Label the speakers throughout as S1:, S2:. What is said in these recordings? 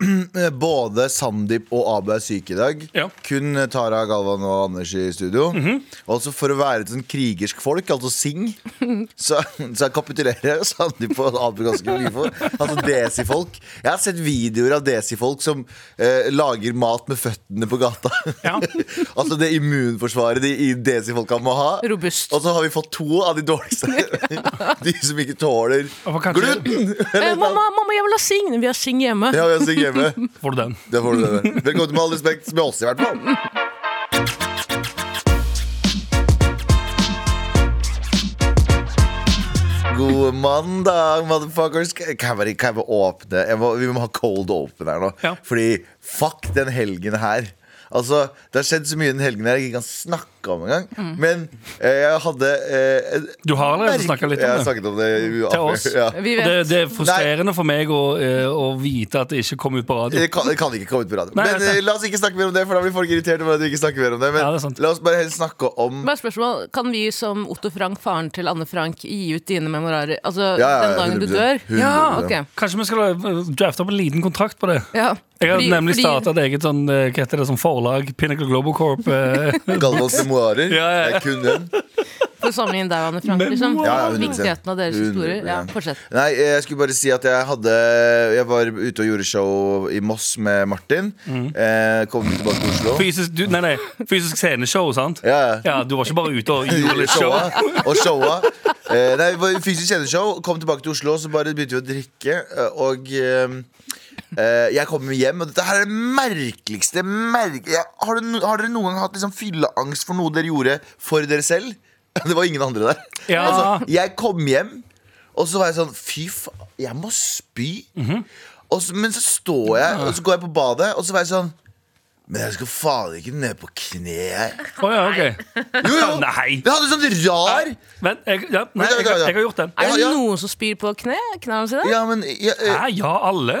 S1: Både Sandeep og Abu er syke i dag.
S2: Ja. Mhm.
S1: Kun Tara, Galvan og Anders i studio. Altså For å være et sånn krigersk folk, altså Sing, så, så kapitulerer Sandeep og Abu ganske mye for. Altså desifolk. Jeg har sett videoer av desifolk som eh, lager mat med føttene på gata.
S2: Ja.
S1: altså det immunforsvaret de i desifolka må ha.
S3: Robust.
S1: Og så har vi fått to av de dårligste. de som ikke tåler
S2: Og kanskje-
S1: gluten!
S3: Eh, mamma, mamma, jeg vil ha sing! Vi har sing hjemme.
S1: Det har vi også i gamet.
S2: Får du den?
S1: Det får du det. Velkommen til Med all respekt, med oss i hvert fall. God mandag, motherfuckers. Kan jeg bare, kan jeg bare åpne jeg må, Vi må ha cold open her nå.
S2: Ja.
S1: Fordi fuck den helgen her. Altså, Det har skjedd så mye den helgen her jeg ikke kan snakke om engang. Men eh, jeg hadde eh, en-
S2: Mm. Du har allerede snakka litt
S1: Jeg har
S2: om det.
S1: snakket om det i-
S2: Til oss.
S1: Ja.
S3: Vi
S2: Og det,
S3: vet.
S2: det er frustrerende for meg å, eh, å vite at det ikke kom ut på radio.
S1: Det kan, det kan ikke komme ut på radio.
S2: Nei,
S1: men
S2: det er sant.
S1: eh, la oss ikke snakke mer om det, for da blir folk irritert over at vi ikke snakker mer om det. Men
S2: Ja, det er sant.
S1: la oss bare helst snakke om
S3: Bare spørsmål, Kan vi som Otto Frank, faren til Anne Frank, gi ut dine memoarer altså,
S1: Ja, ja, ja,
S3: den dagen du
S1: 100%,
S3: dør?
S1: 100%.
S3: Ja, ok.
S2: Kanskje vi skal eh, drafte opp en liten kontrakt på det?
S3: Ja.
S2: Jeg har
S3: Fordi-
S2: nemlig
S3: fordi-
S2: starta et eget sånn, eh, hva heter det, sånn forlag, Pinnacle Global Corp. eh,
S1: Galvans memoarer.
S2: Ja, ja, ja.
S1: Det er kun den.
S3: For å samle inn deg og Anne Frank, liksom.
S1: Ja, ja, 100%.
S3: Viktigheten av deres historier. Ja,
S1: 100%.
S3: fortsett.
S1: Nei, jeg skulle bare si at jeg hadde Jeg var ute og gjorde show i Moss med Martin.
S2: Mm.
S1: Eh, kom tilbake til Oslo.
S2: Fysisk, du, nei, nei, fysisk sceneshow, sant?
S1: Ja, ja.
S2: Ja, Du var ikke bare ute og gjorde litt show?
S1: Showa, og showa. Eh, nei, det var fysisk kjendisshow. Kom tilbake til Oslo, så bare begynte vi å drikke. eh, Og eh, eh, jeg kom hjem, og dette her er det merkeligste merke... ja, har, du, no- har dere noen gang hatt liksom fylleangst for noe dere gjorde for dere selv? Det var ingen andre der.
S2: Ja.
S1: Altså, jeg kom hjem, og så var jeg sånn Fy faen, jeg må spy. og så, men så står jeg, og så går jeg på badet, og så var jeg sånn Men jeg skal faen ikke ned på kne, jeg.
S2: Å ja, ok.
S1: Jo, jo.
S2: Nei.
S1: Jeg hadde sånn rar
S2: Men jeg, ja, nei,
S1: Vent,
S2: jeg,
S1: vent, vent.
S2: jeg har gjort den.
S3: Er det
S1: Ja, ja.
S3: noen som spyr på kne? knærne sine?
S1: Ja, men jeg, jeg,
S2: Hæ, ja, alle?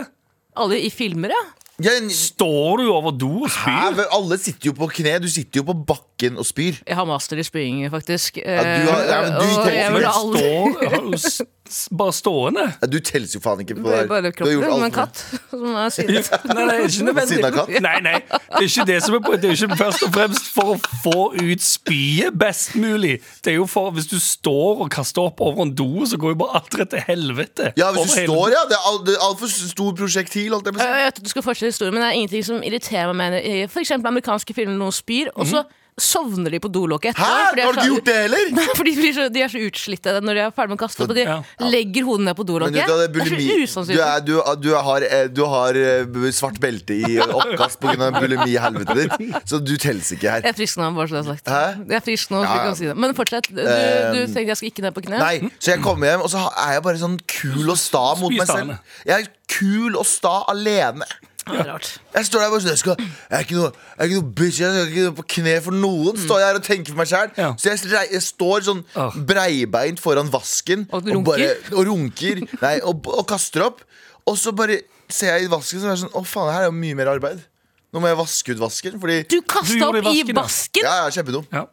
S3: Alle i filmer, ja?
S1: jeg,
S2: Står du over do og
S1: Hæ?
S2: spyr?
S1: Men Alle sitter jo på kne. Du sitter jo på bakken og spyr.
S3: Jeg har master i spying, faktisk.
S1: du har- ja, men du
S3: Eh, og
S1: tenker-
S3: jeg
S1: men
S3: vil
S2: Men
S3: aldri
S2: Står, har du s- s- bare stående?
S1: Ja, Du teller jo faen ikke på
S3: Det
S1: det.
S3: er bare kroppen din, men katt. Som er
S2: Nei,
S3: siden.
S2: nei, ikke
S1: Ved siden av
S2: nødvendig.
S1: katt?
S2: Nei, nei, det er ikke det som er på Det er jo ikke først og fremst for å få ut spyet best mulig. Det er jo for Hvis du står og kaster opp over en do, så går jo bare alt rett til helvete.
S1: Ja, hvis
S2: Over
S1: du
S2: hele-
S1: står, ja. Det er al- det er altfor stor prosjektil. Alt det,
S3: Eh, Jeg vet at du skal fortsette historien, men det er ingenting som irriterer meg mer. i For eksempel amerikanske filmer når noen spyr, og så sovner de på dolokket
S1: Hæ?
S3: etterpå.
S1: Har du ikke gjort det heller?
S3: For de, blir så, de er så utslitte når de er ferdig med å kaste opp, og de
S2: Ja.
S3: legger hodet ned på
S1: Men vet
S3: dolokket.
S1: du hva, det er
S3: Det er
S1: bulimi.
S3: så
S1: Du,
S3: usannsynlig.
S1: er, du, du, har, eh, du har eh, svart belte i oppkast pga. bulimi-helvetet ditt, så du telles ikke her.
S3: Jeg er frisk nå, bare så det er sagt.
S1: Hæ?
S3: Jeg er frisk nå, så
S1: Ja,
S3: vi
S1: ja.
S3: kan si det. Men fortsett. Du, du
S1: Um,
S3: tenkte jeg skal ikke ned på kne?
S1: Nei, så jeg kommer hjem, og så ha- er jeg bare sånn kul og sta mot meg selv.
S2: Spystane.
S1: Jeg er kul og sta alene.
S3: Ja, det er rart.
S1: Jeg står der bare sånn jeg, skal, jeg, er ikke noe, jeg er ikke noe bitch, jeg skal ikke på kne for noen. Står jeg her og tenker for meg sjæl.
S2: Ja.
S1: Så jeg, rei- jeg står sånn
S2: Ah.
S1: breibeint foran vasken
S3: Og runker.
S1: og runker nei, og, og kaster opp. Og så bare ser jeg i vasken så er jeg sånn Å, faen, her er jo mye mer arbeid. Nå må jeg vaske ut vasken, fordi
S3: Du
S2: Du
S3: kasta
S2: gjorde
S3: opp
S2: i
S3: i
S2: vasken, ja.
S3: vasken!
S1: Ja, ja, kjempedum.
S2: Ja.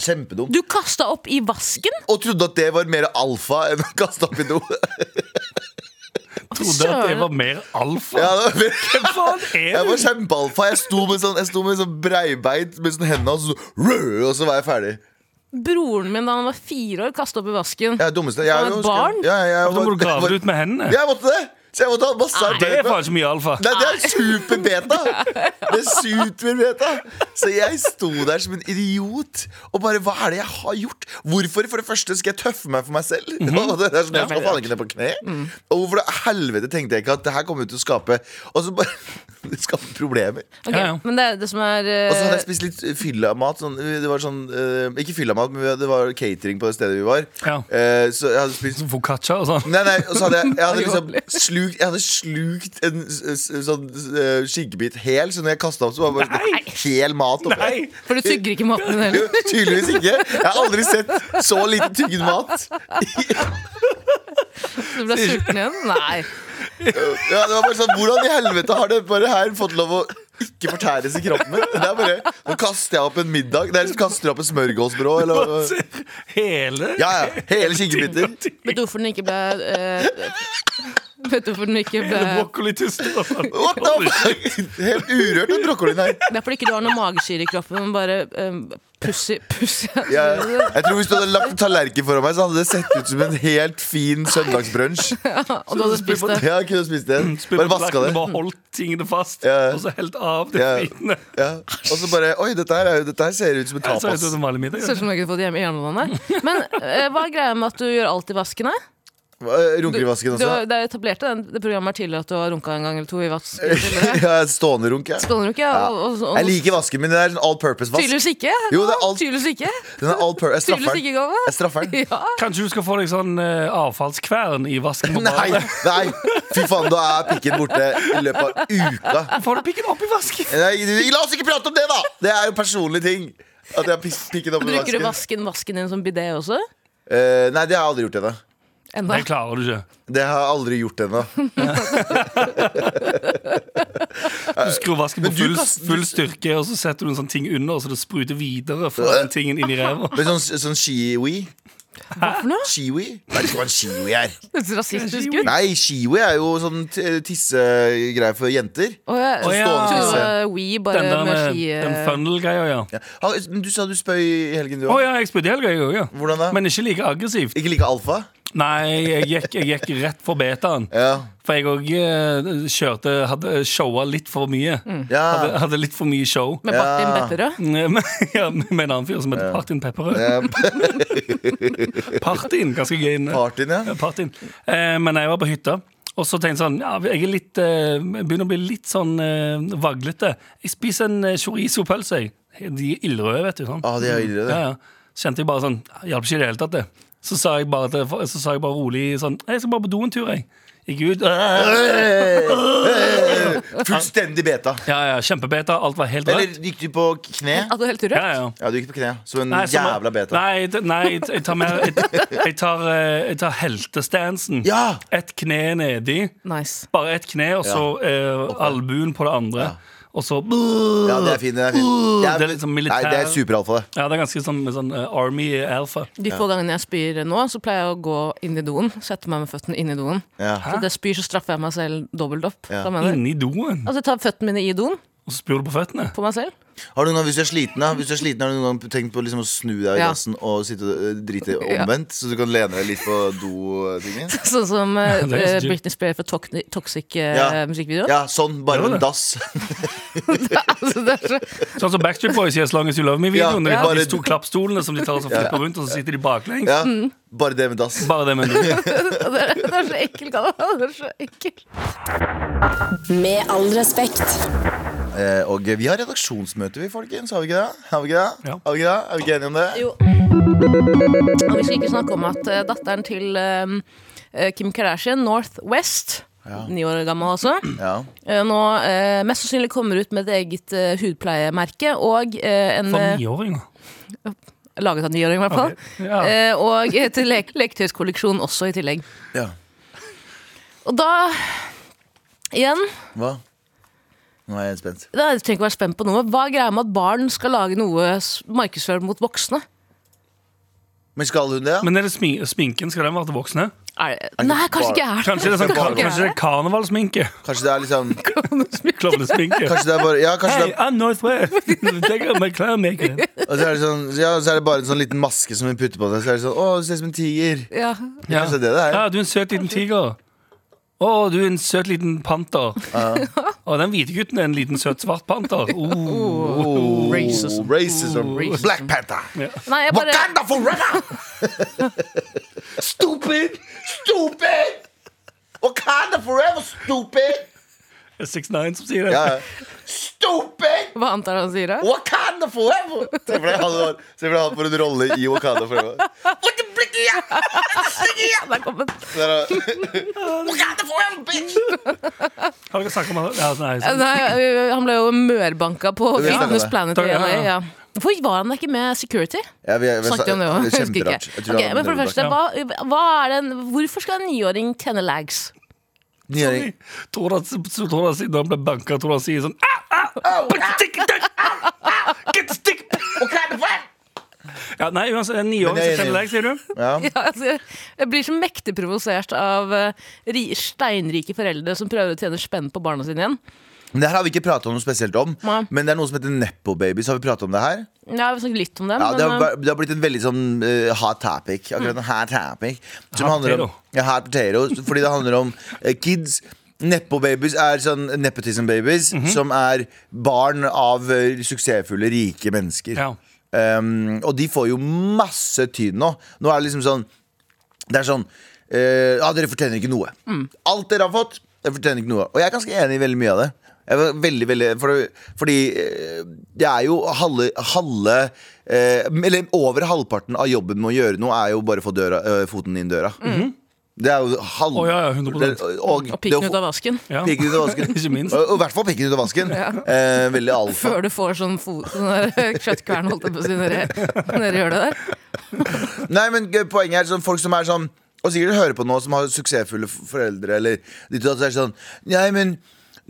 S1: Kjempedum.
S3: Du kasta opp i vasken?
S1: Og trodde at det var mer alfa enn å kaste opp i do.
S2: Trodde at det var mer alfa.
S1: Ja, det var mer
S2: Hvem faen
S1: Jeg
S2: er
S1: var
S2: du?
S1: kjempealfa. Jeg sto med sånn, jeg sto med sånn breibeint med sånn hendene, og så, rød, og så var jeg ferdig.
S3: Broren min da han var fire år, kasta opp i vasken.
S1: Jeg er dummeste. Jeg,
S3: Som
S1: er
S3: et
S1: jo-
S3: barn?
S1: Ja, ja, jeg,
S2: Da må
S1: var-
S2: du grave
S1: var-
S2: det ut med hendene.
S1: Jeg måtte det! Så jeg måtte ha masse
S2: Det
S1: arbeid.
S2: er faen ikke mye alfa.
S1: Nei, det er superbeta! Det er superbeta! Så jeg sto der som en idiot og bare Hva er det jeg har gjort? Hvorfor for det første skal jeg tøffe meg for meg selv?
S2: Mhm.
S1: Og det er sånn, jeg skal faen ikke ned på kne Og hvorfor det helvete tenkte jeg ikke at det her kommer til å skape Og så bare Det skaper problemer.
S3: Ok,
S2: Ja, ja.
S3: Men det er det som er
S1: Og så hadde
S3: eh,
S1: jeg spist litt fyllemat. Sånn, det var sånn, eh, ikke fyllemat, men det var catering på det stedet vi var.
S2: Ja.
S1: Eh, så jeg hadde spist
S2: Som Focaccia og sånn.
S1: Nei, nei, og så hadde jeg, jeg hadde
S3: Oi,
S1: liksom
S3: vanlig.
S1: slukt, jeg hadde slukt en s- s- sånn eh, skinkebit hel, så når jeg kasta opp, så var det bare hel mat oppi.
S2: Nei!
S3: eh, For du tygger ikke maten din
S1: Jo,
S3: heller.
S1: Tydeligvis ikke. Jeg har aldri sett så lite tyggen mat.
S3: Du ble sulten igjen? Nei.
S1: Ja, det var bare sånn, Hvordan i helvete har det bare her fått lov å ikke fortæres i kroppen min. Det er bare, Nå kaster jeg opp en middag. Det er som kaster opp et smørgåsbrød.
S2: Bare
S1: Eller,
S2: se Hele
S1: ja, ja. Hele kinkebiter.
S3: Vet du hvorfor den ikke ble eh, Vet du hvorfor den ikke ble
S2: Brokkolityster.
S1: What the fuck? Helt urørt, den brokkolien her.
S3: Det er fordi ikke du har noe magesyre i kroppen, men bare um, pussi, pussi.
S1: Jeg, jeg tror Hvis du hadde lagt en tallerken foran meg, Så hadde det sett ut som en helt fin søndagsbrunsj.
S3: Og du hadde spist det. Mm,
S1: Ja, kunne spist den. Bare vaska det.
S2: Bare holdt tingene fast,
S1: Ja, ja.
S2: og så helt av det
S1: Ja.
S2: fine.
S1: Ja. Og så bare Oi, dette her, er jo, dette her ser ut som en
S2: Så er det
S1: tapas.
S2: sånn vanlig middag.
S3: Ser ut som du ikke har fått hjemme i hjemlandet. Men eh, hva er greia med at du gjør alt i vasken? her?
S1: Eh, Runker i vasken
S3: Du,
S1: også.
S3: det er etablerte den, det programmet her tidligere at du har runka en gang eller to i vasken. tidligere.
S1: Ja, stående runk, jeg.
S3: Skåler du ikke?
S1: Eh, Ja.
S3: Og, og,
S1: Jeg
S3: og,
S1: liker vasken min. Det er en all purpose-vask.
S3: tydeligvis ikke.
S1: Jo, det er alt-
S3: Tydeligvis ikke.
S1: Den er all pur jeg straffer
S3: Tydeligvis
S1: den.
S3: ikke, Gava.
S1: Jeg straffer den.
S3: Ja.
S2: Kanskje du skal få deg sånn eh, avfallskvern i vasken på
S1: Nei,
S2: badet?
S1: nei, fy faen, da er pikken borte i løpet av uka.
S2: Får du pikken opp i vasken?
S1: Nei, la oss ikke prate om det, da! Det er jo personlige ting. At jeg har pis- pikken opp i
S3: Bruker du
S1: vasken.
S3: vasken, vasken din som bidé også?
S1: Eh, nei, det har jeg aldri gjort ennå.
S3: Enda.
S2: Det klarer du ikke.
S1: Det har jeg aldri gjort ennå.
S2: Du skrur vasken på
S1: Eh, Men du
S2: full,
S1: kaster-
S2: full styrke, og så setter du en sånn ting under, så det spruter videre
S1: Eh.
S2: fra den tingen inn i ræva.
S1: Men Sånn, sånn shiwi
S3: for noe?
S1: Shiwi? Jeg vet ikke hva en shiwi er.
S3: Det ser rasistisk ut.
S1: Nei, shiwi er jo sånn t- tissegreie for jenter.
S3: Å, jeg
S2: Å, ja.
S3: trodde
S1: Stående
S3: det
S1: tisse.
S3: var We, bare
S2: Den der
S3: med
S2: med
S3: ski... eh,
S2: den funnel-greia, ja.
S1: Ja. Ha, men Du sa du spøy i helgen, du
S2: Å
S1: òg.
S2: ja, jeg spydde i helga, jeg òg, ja.
S1: Hvordan da?
S2: Men ikke like aggressivt.
S1: Ikke like alfa?
S2: Nei, jeg gikk, jeg gikk rett for betaen.
S1: Ja.
S2: For jeg òg eh, kjørte Hadde showa litt for mye. Hadde,
S1: ja.
S2: hadde litt for mye show.
S3: Med Martin
S1: Ja.
S3: Betterød.
S2: Med, ja, med en annen fyr som heter Partin Pepperød.
S1: Eh,
S2: Partin, ganske gøy navn.
S1: Partyen, ja.
S2: Partin. Eh, men jeg var på hytta, og så tenkte jeg sånn ja, Jeg er litt, eh, jeg begynner å bli litt sånn eh, vaglete. Jeg spiser en eh, chorizo-pølse, jeg. De er ildrøde, vet du. sånn
S1: Ah, de er ille, det.
S2: ja, ja. Kjente jeg bare sånn Hjalp ikke i det hele tatt, det. Så sa jeg bare, til, så sa jeg bare rolig sånn Jeg skal bare på do en tur, jeg. Gikk ut. øh.
S1: Eh, eh, Fullstendig beta.
S2: Ja, ja, kjempebeta. Alt var helt rødt.
S1: Eller gikk du på kne?
S3: At du er helt rødt?
S2: Ja, ja.
S1: Ja, du gikk på kne. Som en
S2: som-
S1: jævla beta.
S2: Nei, det- nei jeg tar mer Jeg, jeg tar, eh, jeg tar heltestansen.
S1: Ja!
S2: Ett kne nedi.
S3: Nice.
S2: Bare ett kne, og så eh, albuen på det andre. Og så
S1: Ja, det er fint. Det er, fint.
S2: Det er litt sånn militær-
S1: Nei, det er superalfa, det.
S2: Ja, det er ganske sånn, sånn eh, Army Alpha.
S3: De få gangene jeg spyr nå, så pleier jeg å gå inn i doen. Sette meg med føttene inn i doen.
S1: Ja.
S3: Så det spyr, så straffer jeg meg selv dobbelt opp.
S1: Ja.
S3: Hva mener du?
S2: Inni doen.
S3: Altså, jeg tar føttene mine i doen
S2: Og så spyr du på føttene.
S3: på meg selv.
S1: Har du noen gang, hvis du er sliten, da, hvis du er sliten har du noen gang tenkt på liksom å snu deg i
S3: Ja.
S1: dassen og sitte og øh, drite omvendt, så du kan lene deg litt på do-tingen?
S3: Sånn som eh,
S2: det er så chill.
S3: Britney Spears for Toxic, toxic eh,
S1: Ja.
S3: musikkvideo.
S1: Ja, sånn, bare
S2: Det var
S1: med en
S2: det.
S1: dass.
S3: altså, det er så,
S2: Sånn som Backstreet Boys i As Long As You Love Me-videoen.
S1: Ja,
S2: Ja,
S1: bare-
S2: De to klappstolene som de tar og så flipper rundt, og så sitter de baklengs.
S1: Ja,
S3: Mm.
S1: bare det med dass.
S2: Bare det med en
S3: det er, det er så ekkelt, Galvan. Det er så ekkelt.
S4: Med all respekt.
S1: Eh, og vi har redaksjonsmøte, vi, folkens. Har vi ikke det? Har vi ikke det?
S2: Ja.
S1: Har vi ikke det? Er vi ikke enige om det?
S3: Jo. Og vi skal ikke snakke om at eh, datteren til eh, Kim Kardashian, Northwest, ni år gammel altså,
S1: Ja.
S3: eh, nå eh, mest sannsynlig kommer ut med et eget eh, hudpleiemerke og eh, en
S2: For
S3: eh,
S2: niåringer.
S3: Laget av niåring, i hvert fall.
S2: Ok, ja.
S3: Eh, og til le leketøyskolleksjon også i tillegg.
S1: ja.
S3: Og da Igjen,
S1: Hva? Nå er jeg spent.
S3: da trenger jeg ikke være spent på noe. Hva er greia med at barn skal lage noe s- markedsført mot voksne?
S1: Men skal hun det, ja?
S2: Men er det smi sminken? Skal den være til voksne?
S3: Er det, nei, kanskje
S1: bare-
S3: ikke er det.
S2: Kanskje det er sånn
S1: Bare-
S2: Kanskje det er karnevalsminke?
S1: Kanskje det er liksom
S2: Klovnesminke?
S1: Kanskje det er bare Ja, kanskje det
S2: Hey,
S1: er
S2: I'm Northwest! Take out my clown makeup.
S1: Og så er det, sånn, ja, så er det bare en sånn liten maske som hun putter på deg. Så er det sånn, å, du ser ut som en tiger
S3: Ja.
S2: Ja.
S1: Kanskje det er det her?
S2: Ja, du er en søt liten tiger. Å, du er en søt liten panter. Å, den hvite gutten er en liten søt svart panter. Oh.
S1: oh,
S3: Racism.
S1: racism.
S3: Racism.
S1: Black Panther.
S3: Nei, jeg bare
S1: Wakanda forever! stupid! Stupid! Wakanda forever, stupid!
S2: 6ix9ine som sier det.
S1: Ja, ja. stupid!
S3: Hva antar han sier? da?
S1: Wakanda forever! Se for deg han var- se for deg han for en rolle i Wakanda forever. What the blick is that?
S3: Der kom den.
S1: Der er- Wakanda forever, bitch!
S2: Har dere snakket om det? Ja, nei, så-
S3: Eh, Nei, ø, han ble jo mørbanka på
S1: Vi snakket om
S3: Fitness
S1: det.
S3: Planet
S2: Ja,
S3: i
S2: ja,
S3: LA.
S2: ja.
S3: Ja. Hvorfor var han da ikke med security?
S1: Ja, vi, vi,
S3: Snakket om det også. Jeg husker
S1: Kjemperart. Jeg
S3: ikke.
S1: tror
S3: Ok,
S1: han-
S3: men for det første,
S2: Ja.
S3: hva, hva er den, hvorfor skal en niåring tenne lags?
S1: Nyhøring.
S2: Tror du at- så tror du at siden han ble banka, tror du han sier sånn ah! "Ah!" Ja, nei, uansett, en niåring
S1: Men jeg er
S2: som kjenner
S1: enig.
S2: deg, sier du?
S3: Ja, altså, jeg- jeg blir så mektig provosert av eh, ri- steinrike foreldre som prøver å tjene spenn på barna sine igjen.
S1: Men det her har vi ikke pratet om noe spesielt om.
S3: Nei.
S1: Men det er noe som heter Nepo Babies. Har vi pratet om det her?
S3: Ja, vi snakket litt om dem,
S1: Ja, det, har,
S3: men Mm. eh,
S1: vært- det har blitt en veldig sånn eh, hot topic. Akkurat en hot topic Som
S2: Hot
S1: handler om
S2: potato.
S1: ja, hot potato. Fordi det handler om eh, kids. Nepo-babies er sånn nepotism-babies
S2: Mhm.
S1: som er barn av eh, suksessfulle, rike mennesker.
S2: Ja.
S1: Um, og de får jo masse tyn nå. Nå er det liksom sånn Det er sånn eh, Ja, dere fortjener ikke noe.
S3: Mm.
S1: Alt dere har fått, dere fortjener ikke noe. Og jeg er ganske enig i veldig mye av det. Jeg var veldig, veldig, for, fordi eh, det er jo halve, halve eh, Eller over halvparten av jobben med å gjøre noe er jo bare å få døra, eh, foten inn døra. Mhm. Det er jo halv...
S2: Å, ja, ja, 100%.
S1: det- Og,
S3: Mm. eh, Og pikken ut av vasken.
S2: Ja.
S1: Pikken ut av vasken.
S2: Ikke minst.
S1: Og, og i hvert fall pikken ut av vasken. Eh, veldig alfa.
S3: Før du får sånn, fo- sånn der kjøttkvern, holdt jeg på å si, når dere- når dere gjør det der.
S1: Nei, men g- poenget er sånn, folk som er sånn Og sikkert hører på nå som har suksessfulle f- foreldre Eller de to er sånn Nei, men,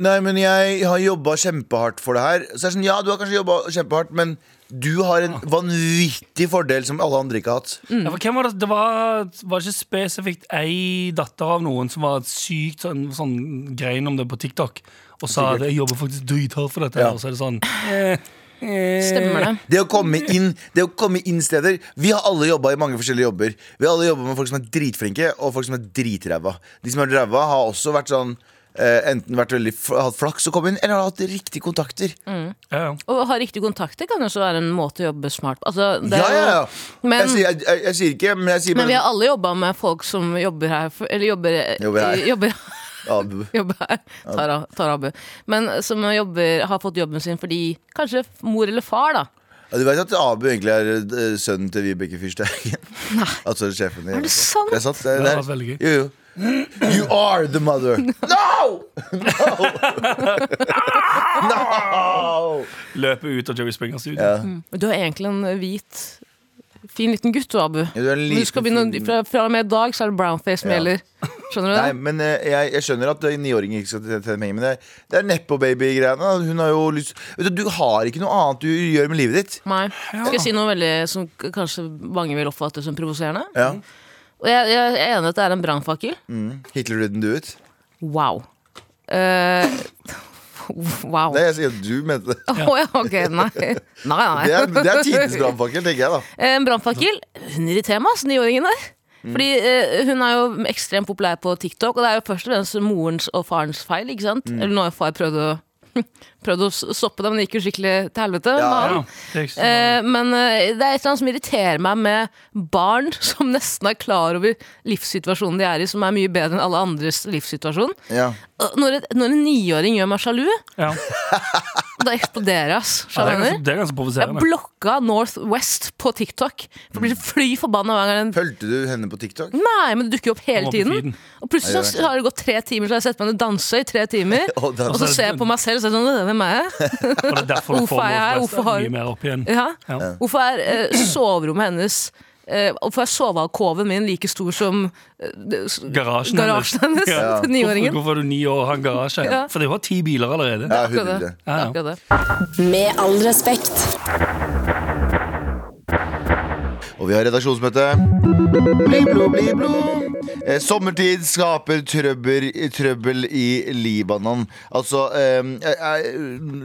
S1: nei, men jeg har jobbet kjempehardt for det her Så er det sånn, ja, du har kanskje jobbet kjempehardt Men du har en vanvittig fordel Som alle andre ikke har hatt
S2: Ja, for hvem var det? det var, var ikke spesifikt ei datter av noen som var sykt sånn, sånn grein om det på TikTok, og sa at jeg jobber faktisk drithardt for dette.
S1: Ja.
S2: her, Og så er det sånn eh, eh.
S3: Stemmer det.
S1: Det å komme inn, det å komme inn steder Vi har alle jobba i mange forskjellige jobber. Vi har alle jobba med folk som er dritflinke, og folk som er dritræva. De som er ræva, har også vært sånn eh, Enten vært veldig f- hatt flaks å komme inn, eller har hatt riktige kontakter.
S2: Ja, ja.
S3: Og å ha riktige kontakter kan jo også være en måte å jobbe smart på. Altså, det er
S1: Ja, ja, ja.
S3: jo- Men,
S1: jeg, sier, jeg, jeg, jeg sier ikke, men jeg sier
S3: men vi
S1: bare
S3: har alle jobba med folk som jobber her for- Eller jobber
S1: Jobber her.
S3: Jobber,
S1: Ja, bu-
S3: jobber her. Tara, Tara Bø. Men som jobber, har fått jobben sin fordi kanskje mor eller far, da.
S1: Ja, Du vet at Abu egentlig er eh, sønnen til Vibeke Fyrsteigen? Altså sjefen i
S3: Er det sant?
S1: Det er sant. Det, det
S2: Det var veldig gøy.
S1: er, jo, jo. You are the mother. No! No! no!
S2: Løper ut av Joey Springer Studio.
S1: Ja.
S3: Du er egentlig en hvit, fin liten gutt, du, Abu.
S1: Ja, du er en
S3: Men du skal begynne,
S1: liten, fin-
S3: fra, fra og med i dag så er det brownface som
S1: Ja.
S3: gjelder. Skjønner du
S1: Nei,
S3: det?
S1: men eh, jeg, jeg skjønner at eh, niåringer ikke skal tjene- tjene penger, men det, det er nepo-baby-greiene. Hun har jo lyst Vet du, du har ikke noe annet du gjør med livet ditt.
S3: Nei. Skal jeg si noe veldig som k- kanskje mange vil oppfatte som provoserende?
S1: Ja.
S3: Og jeg, jeg er enig i at det er en brannfakkel.
S1: Hitler didn't do it.
S3: Wow. Eh, wow.
S1: Nei, jeg sier at du mente det.
S3: Å ja, ok. Nei. Nei,
S1: Det er, det
S3: nei.
S1: er tidens brannfakkel, tenker jeg, da.
S3: Eh, En brannfakkel hun irriterer meg, altså, niåringen der.
S2: Mm.
S3: Fordi eh, Hun er jo ekstremt populær på TikTok, og det er jo først og fremst morens og farens feil. ikke sant?
S2: Mm.
S3: Eller nå har jo far prøvd å, prøvd å s- stoppe det, men det gikk jo skikkelig til helvete. med
S1: Ja,
S3: han.
S2: Ja, det er ikke så
S3: Eh, men eh, det er et eller annet som irriterer meg med barn som nesten er klar over livssituasjonen de er i, som er mye bedre enn alle andres livssituasjon.
S1: Ja.
S3: Og Når, et, når en niåring gjør meg sjalu,
S2: ja.
S3: da eksploderer jeg, ass.
S2: Ja, det, er
S3: Skjønner
S2: ganske,
S3: du?
S2: det er ganske
S3: Jeg
S2: provoserende.
S3: blokka Northwest på TikTok. For jeg blir så fly forbanna hver gang den
S1: Fulgte du henne på TikTok?
S3: Nei, men det dukker jo opp hele
S2: Kommer på
S3: tiden.
S2: feeden.
S3: Og plutselig så har det gått tre timer, så har jeg sett meg ned og dansa i tre timer.
S1: Og dansa.
S3: Og så ser jeg på meg selv og så er jeg sånn Hvem er jeg?
S2: Og det er derfor du
S3: Hvorfor
S2: får
S3: er jeg her?
S2: Northwest
S3: Hvorfor har-
S2: mye mer opp igjen.
S3: Ja.
S2: Ja.
S3: Hvorfor er eh, soverommet hennes eh, Hvorfor er sovealkoven min like stor som eh, det- s-
S2: Garasjen hennes.
S3: garasjen hennes
S2: Ja.
S3: til niåringen?
S2: Hvorfor er du ni år og har en garasje?
S3: Ja.
S2: For det var ti biler allerede.
S1: Ja,
S3: Akkurat det.
S1: 100.
S2: Ja, ja.
S3: Akkurat det.
S4: Med all respekt.
S1: Og vi har redaksjonsmøte. Bli blå, bli blå. Eh, sommertid skaper trøbbel, trøbbel i Libanon. Altså eh, jeg, jeg,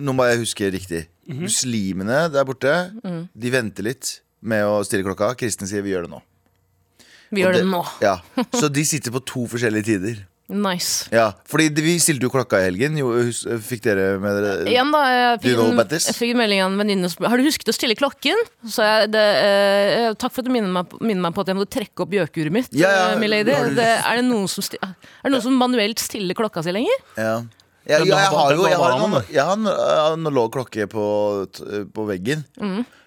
S1: Nå må jeg huske riktig.
S3: Mhm.
S1: Muslimene der borte,
S3: Mm.
S1: de venter litt med å stille klokka. Kristne sier vi gjør det nå.
S3: Vi gjør det nå.
S1: Ja. Så de sitter på to forskjellige tider.
S3: Nice.
S1: Ja, fordi de- vi stilte jo klokka i helgen. Jo, hus- fikk dere med dere
S3: Igjen da, jeg fikk,
S1: Do you know
S3: en,
S1: about this?
S3: jeg fikk en melding av en venninne som Har du husket å stille klokken? Så jeg, det, eh, takk for at du minner meg, på- minner meg på at jeg må trekke opp gjøkuret mitt.
S1: Ja, ja,
S3: eh, milady.
S1: har du-
S3: Det, er det noen som, sti, er det noen som manuelt stiller klokka si lenger?
S1: Ja. Jeg,
S2: Den
S1: jeg,
S2: var-
S1: har
S2: den
S1: jo
S2: var
S1: jeg har
S2: varm,
S1: en,
S2: da.
S1: jeg har en, en analog klokke på, t- på veggen.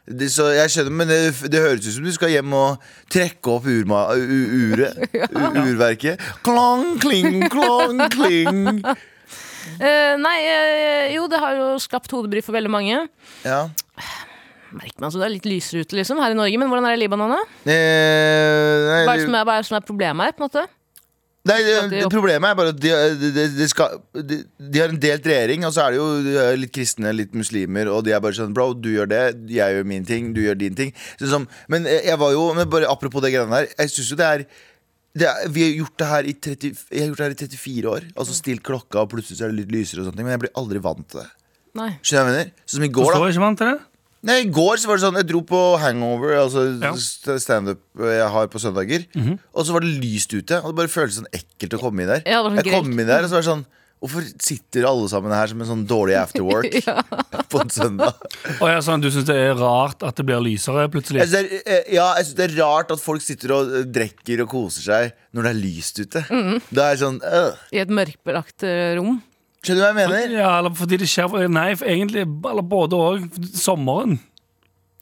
S1: Det, så jeg skjønner, men det, det høres ut som du skal hjem og trekke opp urma, u, uret. U, urverket. Klang, kling, klang, kling.
S3: Eh, nei, eh, jo, det har jo skapt hodebry for veldig mange.
S1: Ja.
S3: Merk meg, altså, det er litt lysere ute liksom, her i Norge, men hvordan er det i Libanon? da?
S1: Eh, nei,
S3: Hva er det som er, hva er, det som er problemet her? på en måte?
S1: Nei,
S3: At de
S1: det,
S3: opp-
S1: Problemet er bare at de, de, de, de, skal, de, de har en delt regjering, og så er det jo eh, litt kristne, litt muslimer, og de er bare sånn Bro, du gjør det, jeg gjør min ting, du gjør din ting. Så som, men jeg jeg var jo men bare Apropos det greiene der. Jeg syns jo det er det er, vi har gjort det her i 30, Jeg har gjort det her i 34 år. Altså stilt klokka, og plutselig så er det litt lysere, og sånne ting men jeg blir aldri vant til det.
S3: Nei.
S1: Skjønner du hva jeg mener? Sånn som i går, da.
S2: Forstår ikke man til det?
S1: Nei, I går så var det sånn, jeg dro på hangover, altså
S2: Ja. Mhm.
S1: st- standup eh, jeg har på søndager. Og så var det lyst ute, og det bare føltes sånn ekkelt å komme inn der.
S3: Ja, det var sånn
S1: jeg kom
S3: grelt.
S1: inn der, og så var det sånn Hvorfor sitter alle sammen her som en sånn dårlig afterwork på en søndag?
S2: Å ja, sånn, du syns det er rart at det blir lysere
S1: Jeg
S2: plutselig?
S1: synes det er, eh, ja, jeg synes det er rart at folk sitter og eh, drikker og koser seg når det er lyst ute.
S3: Mhm.
S1: Da er jeg sånn øh.
S3: I et mørkbelagt eh, rom.
S1: Skjønner du hva jeg mener?
S2: Ja, eller fordi det skjer Nei, for egentlig eller både òg. Sommeren.